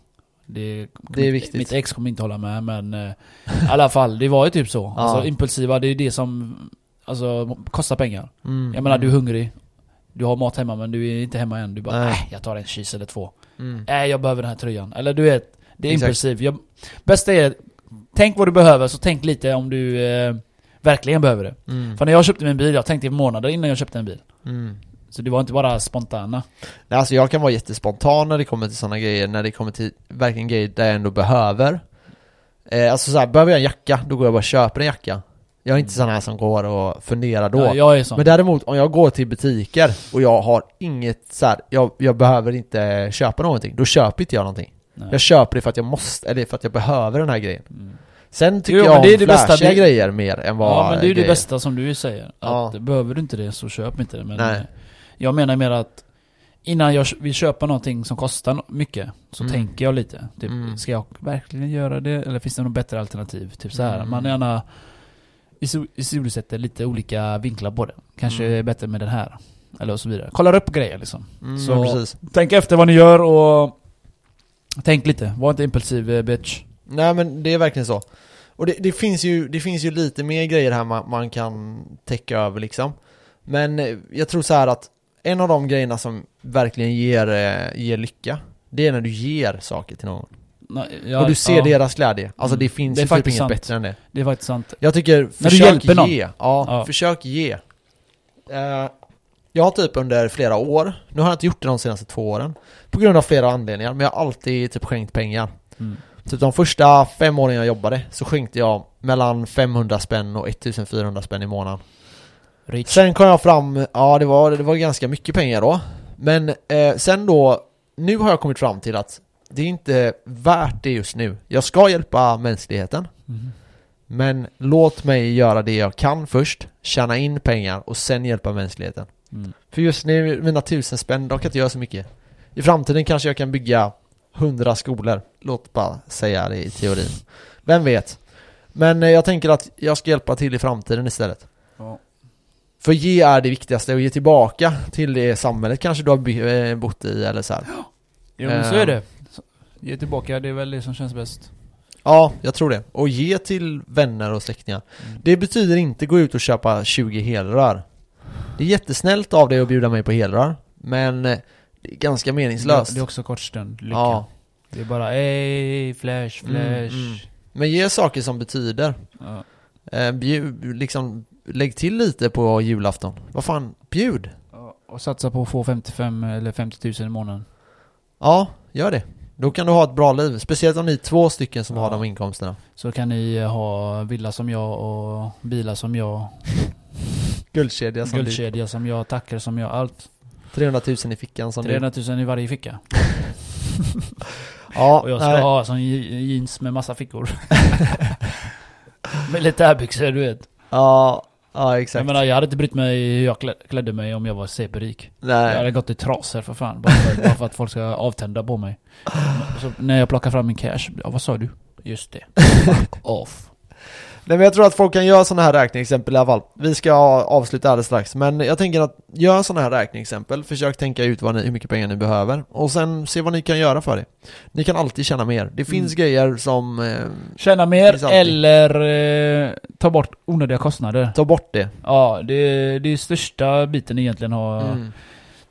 S2: Det,
S1: Det är viktigt.
S2: Mitt ex kommer inte hålla med men... eh, I alla fall, det var ju typ så.
S1: Ja.
S2: Alltså impulsiva, det är det som... Alltså, kostar pengar.
S1: Mm.
S2: Jag menar, du är hungrig. Du har mat hemma men du är inte hemma än. Du bara,
S1: Nej.
S2: nej jag tar en kyss eller två.
S1: Mm.
S2: Nej, jag behöver den här tröjan. Eller du vet, det är
S1: Exakt.
S2: impulsivt. Jag- Bästa är, tänk vad du behöver, så tänk lite om du eh, verkligen behöver det.
S1: Mm.
S2: För när jag köpte min bil, jag tänkte i månader innan jag köpte en bil.
S1: Mm.
S2: Så det var inte bara spontana.
S1: Nej, alltså jag kan vara jättespontan när det kommer till sådana grejer, när det kommer till verkligen grejer där jag ändå behöver. Eh, alltså såhär, behöver jag en jacka, då går jag bara och köper en jacka. Jag är inte sån här som går och funderar då.
S2: Mm. Ja, jag är sån.
S1: Men däremot om jag går till butiker och jag har inget så här, jag, jag behöver inte köpa någonting, då köper inte jag någonting.
S2: Nej.
S1: Jag köper det för att jag måste, eller för att jag behöver den här grejen.
S2: Mm.
S1: Sen tycker
S2: Jo,
S1: jag
S2: men
S1: om
S2: det är det bästa,
S1: flashiga
S2: det-
S1: grejer mer än vad
S2: Ja, men det är ju det
S1: grejer.
S2: bästa som du säger. Att
S1: Ja.
S2: behöver du inte det så köp inte det. Men
S1: Nej.
S2: eh, jag menar mer att innan jag vill köpa någonting som kostar no- mycket så
S1: Mm.
S2: tänker jag lite. Typ,
S1: Mm.
S2: ska jag verkligen göra det? Eller finns det något bättre alternativ? Typ så här.
S1: Mm.
S2: Man gärna iso- isoliserar lite olika vinklar på det. Kanske
S1: Mm.
S2: är bättre med den här. Eller och så vidare. Kollar upp grejer liksom.
S1: Mm,
S2: Så-
S1: ja, precis.
S2: Tänk efter vad ni gör och tänk lite. Var inte impulsiv eh, bitch.
S1: Nej men det är verkligen så. Och det, det, finns, ju, det finns ju lite mer grejer här man, man kan täcka över liksom. Men eh, jag tror så här att en av de grejerna som verkligen ger, eh, ger lycka, det är när du ger saker till någon.
S2: Nej, jag-
S1: och du ser
S2: ja,
S1: deras glädje. Alltså
S2: Mm.
S1: det finns
S2: Det är
S1: ju typ
S2: faktiskt
S1: inget
S2: sant.
S1: bättre än det.
S2: Det är faktiskt sant.
S1: Jag tycker, försök
S2: hjälper någon.
S1: ge. Ja,
S2: Ja.
S1: försök ge. Eh, jag har typ under flera år, nu har jag inte gjort det de senaste två åren, på grund av flera anledningar, men jag har alltid typ skänkt pengar.
S2: Mm.
S1: Typ de första fem åren jag jobbade så skänkte jag mellan 500 spänn och 1400 spänn i månaden.
S2: Rich.
S1: Sen kom jag fram, ja det var, det var ganska mycket pengar då. Men eh, sen då, nu har jag kommit fram till att det är inte värt det just nu. Jag ska hjälpa mänskligheten.
S2: Mm.
S1: Men låt mig göra det jag kan först, tjäna in pengar och sen hjälpa mänskligheten.
S2: Mm.
S1: För just nu, mina tusen spänn, de kan inte göra så mycket. I framtiden kanske jag kan bygga hundra skolor. Låt bara säga det i teorin. Vem vet? Men eh, jag tänker att jag ska hjälpa till i framtiden istället.
S2: Ja.
S1: För ge är det viktigaste och ge tillbaka till det samhället kanske du har by- eh, bott i eller så här.
S2: Jo men så är det. Så- Ge tillbaka, det är väl det som känns bäst.
S1: Ja, jag tror det. Och ge till vänner och släktingar.
S2: Mm.
S1: Det betyder inte gå ut och köpa 20 helrör. Det är jättesnällt av dig att bjuda mig på helrör, men eh, det är ganska meningslöst.
S2: Det är också kort stund, lycka.
S1: ja.
S2: Det är bara ey, flash,
S1: Mm,
S2: flash.
S1: mm. Men ge saker som betyder.
S2: Ja.
S1: Eh, bjud, liksom, lägg till lite på julafton. Vad fan, bjud!
S2: Ja, Och satsa på att få 55 eller 50 000 i månaden.
S1: Ja, gör det. Då kan du ha ett bra liv. Speciellt om ni är två stycken som har de inkomsterna.
S2: Så kan ni eh, ha villa som jag och bilar som jag,
S1: Guldkedja som blir
S2: guldkedja som jag, tackor som jag, allt.
S1: 300 000 i fickan som
S2: 300 000 i varje ficka.
S1: du... Ja,
S2: Och jag ska
S1: nej.
S2: ha sån je- jeans med massa fickor. med lite härbyxor du vet.
S1: Ja, ja exakt.
S2: Jag menar jag hade inte brytt mig hur jag klä- klädde mig om jag var cp-rik. Jag
S1: nej.
S2: hade gått i trasor för fan. Bara för, bara för att folk ska avtända på mig. Så när jag plockar fram min cash, ja, vad sa du? Just det. Fuck off.
S1: nej, men jag tror att folk kan göra sådana här räkneexempel i alla fall. Vi ska avsluta alldeles strax, men jag tänker att gör sådana här räkneexempel. Försök tänka ut vad ni, hur mycket pengar ni behöver och sen se vad ni kan göra för det. Ni kan alltid tjäna mer.
S2: Mm.
S1: Det finns grejer som eh,
S2: Tjäna
S1: Finns
S2: mer
S1: alltid.
S2: eller eh, ta bort onödiga kostnader.
S1: tar bort det.
S2: Ja, det, det är största biten egentligen har
S1: Mm.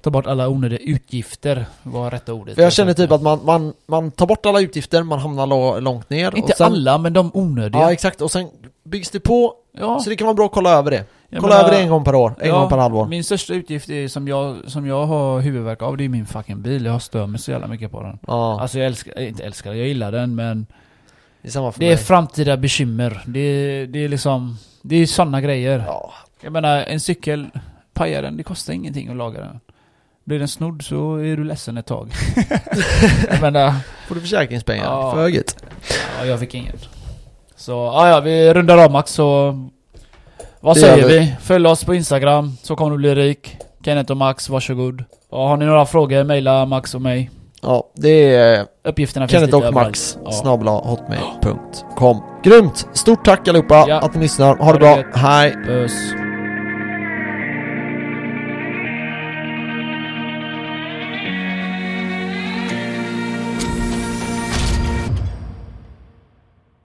S2: ta bort alla onödiga utgifter var rätta ordet.
S1: För jag känner typ att man, man, man tar bort alla utgifter, man hamnar lo- långt ner.
S2: Inte
S1: och sen,
S2: alla, men de onödiga.
S1: Ja, exakt. Och sen byggs det på,
S2: Ja,
S1: så det kan vara bra att kolla över det.
S2: jag
S1: Kolla
S2: menar-
S1: över det en gång per år, en
S2: Ja,
S1: gång per halvår.
S2: Min största utgift är, som, jag, som jag har huvudvärk av, det är min fucking bil. Jag stör mig så jävla mycket på den.
S1: Ja,
S2: Alltså jag älskar, eh, inte älskar, jag gillar den men
S1: det är samma för
S2: Det
S1: mig.
S2: är framtida bekymmer. Det är, det är liksom, det är sådana grejer.
S1: ja.
S2: Jag menar en cykel, pajar den, det kostar ingenting att laga den. Blir den snodd så är du ledsen ett tag. jag menar,
S1: Får du försäkringspengar?
S2: Ja.
S1: För högt.
S2: ja, jag fick ingen. Så ja, ja vi rundar av Max så... Vad
S1: Det
S2: säger
S1: gör
S2: vi.
S1: vi.
S2: Följ oss på Instagram så kommer du bli rik. Kenneth och Max, varsågod. Och har ni några frågor, mejla Max och mig.
S1: Ja, det är
S2: Uppgifterna finns
S1: Kenneth
S2: lite
S1: och Max
S2: överallt. Ja.
S1: snabla hotmail.com Grymt! Stort tack allihopa
S2: Ja.
S1: att ni lyssnar. Ha,
S2: Ha
S1: det
S2: det
S1: bra.
S2: gött.
S1: Hej!
S2: Puss.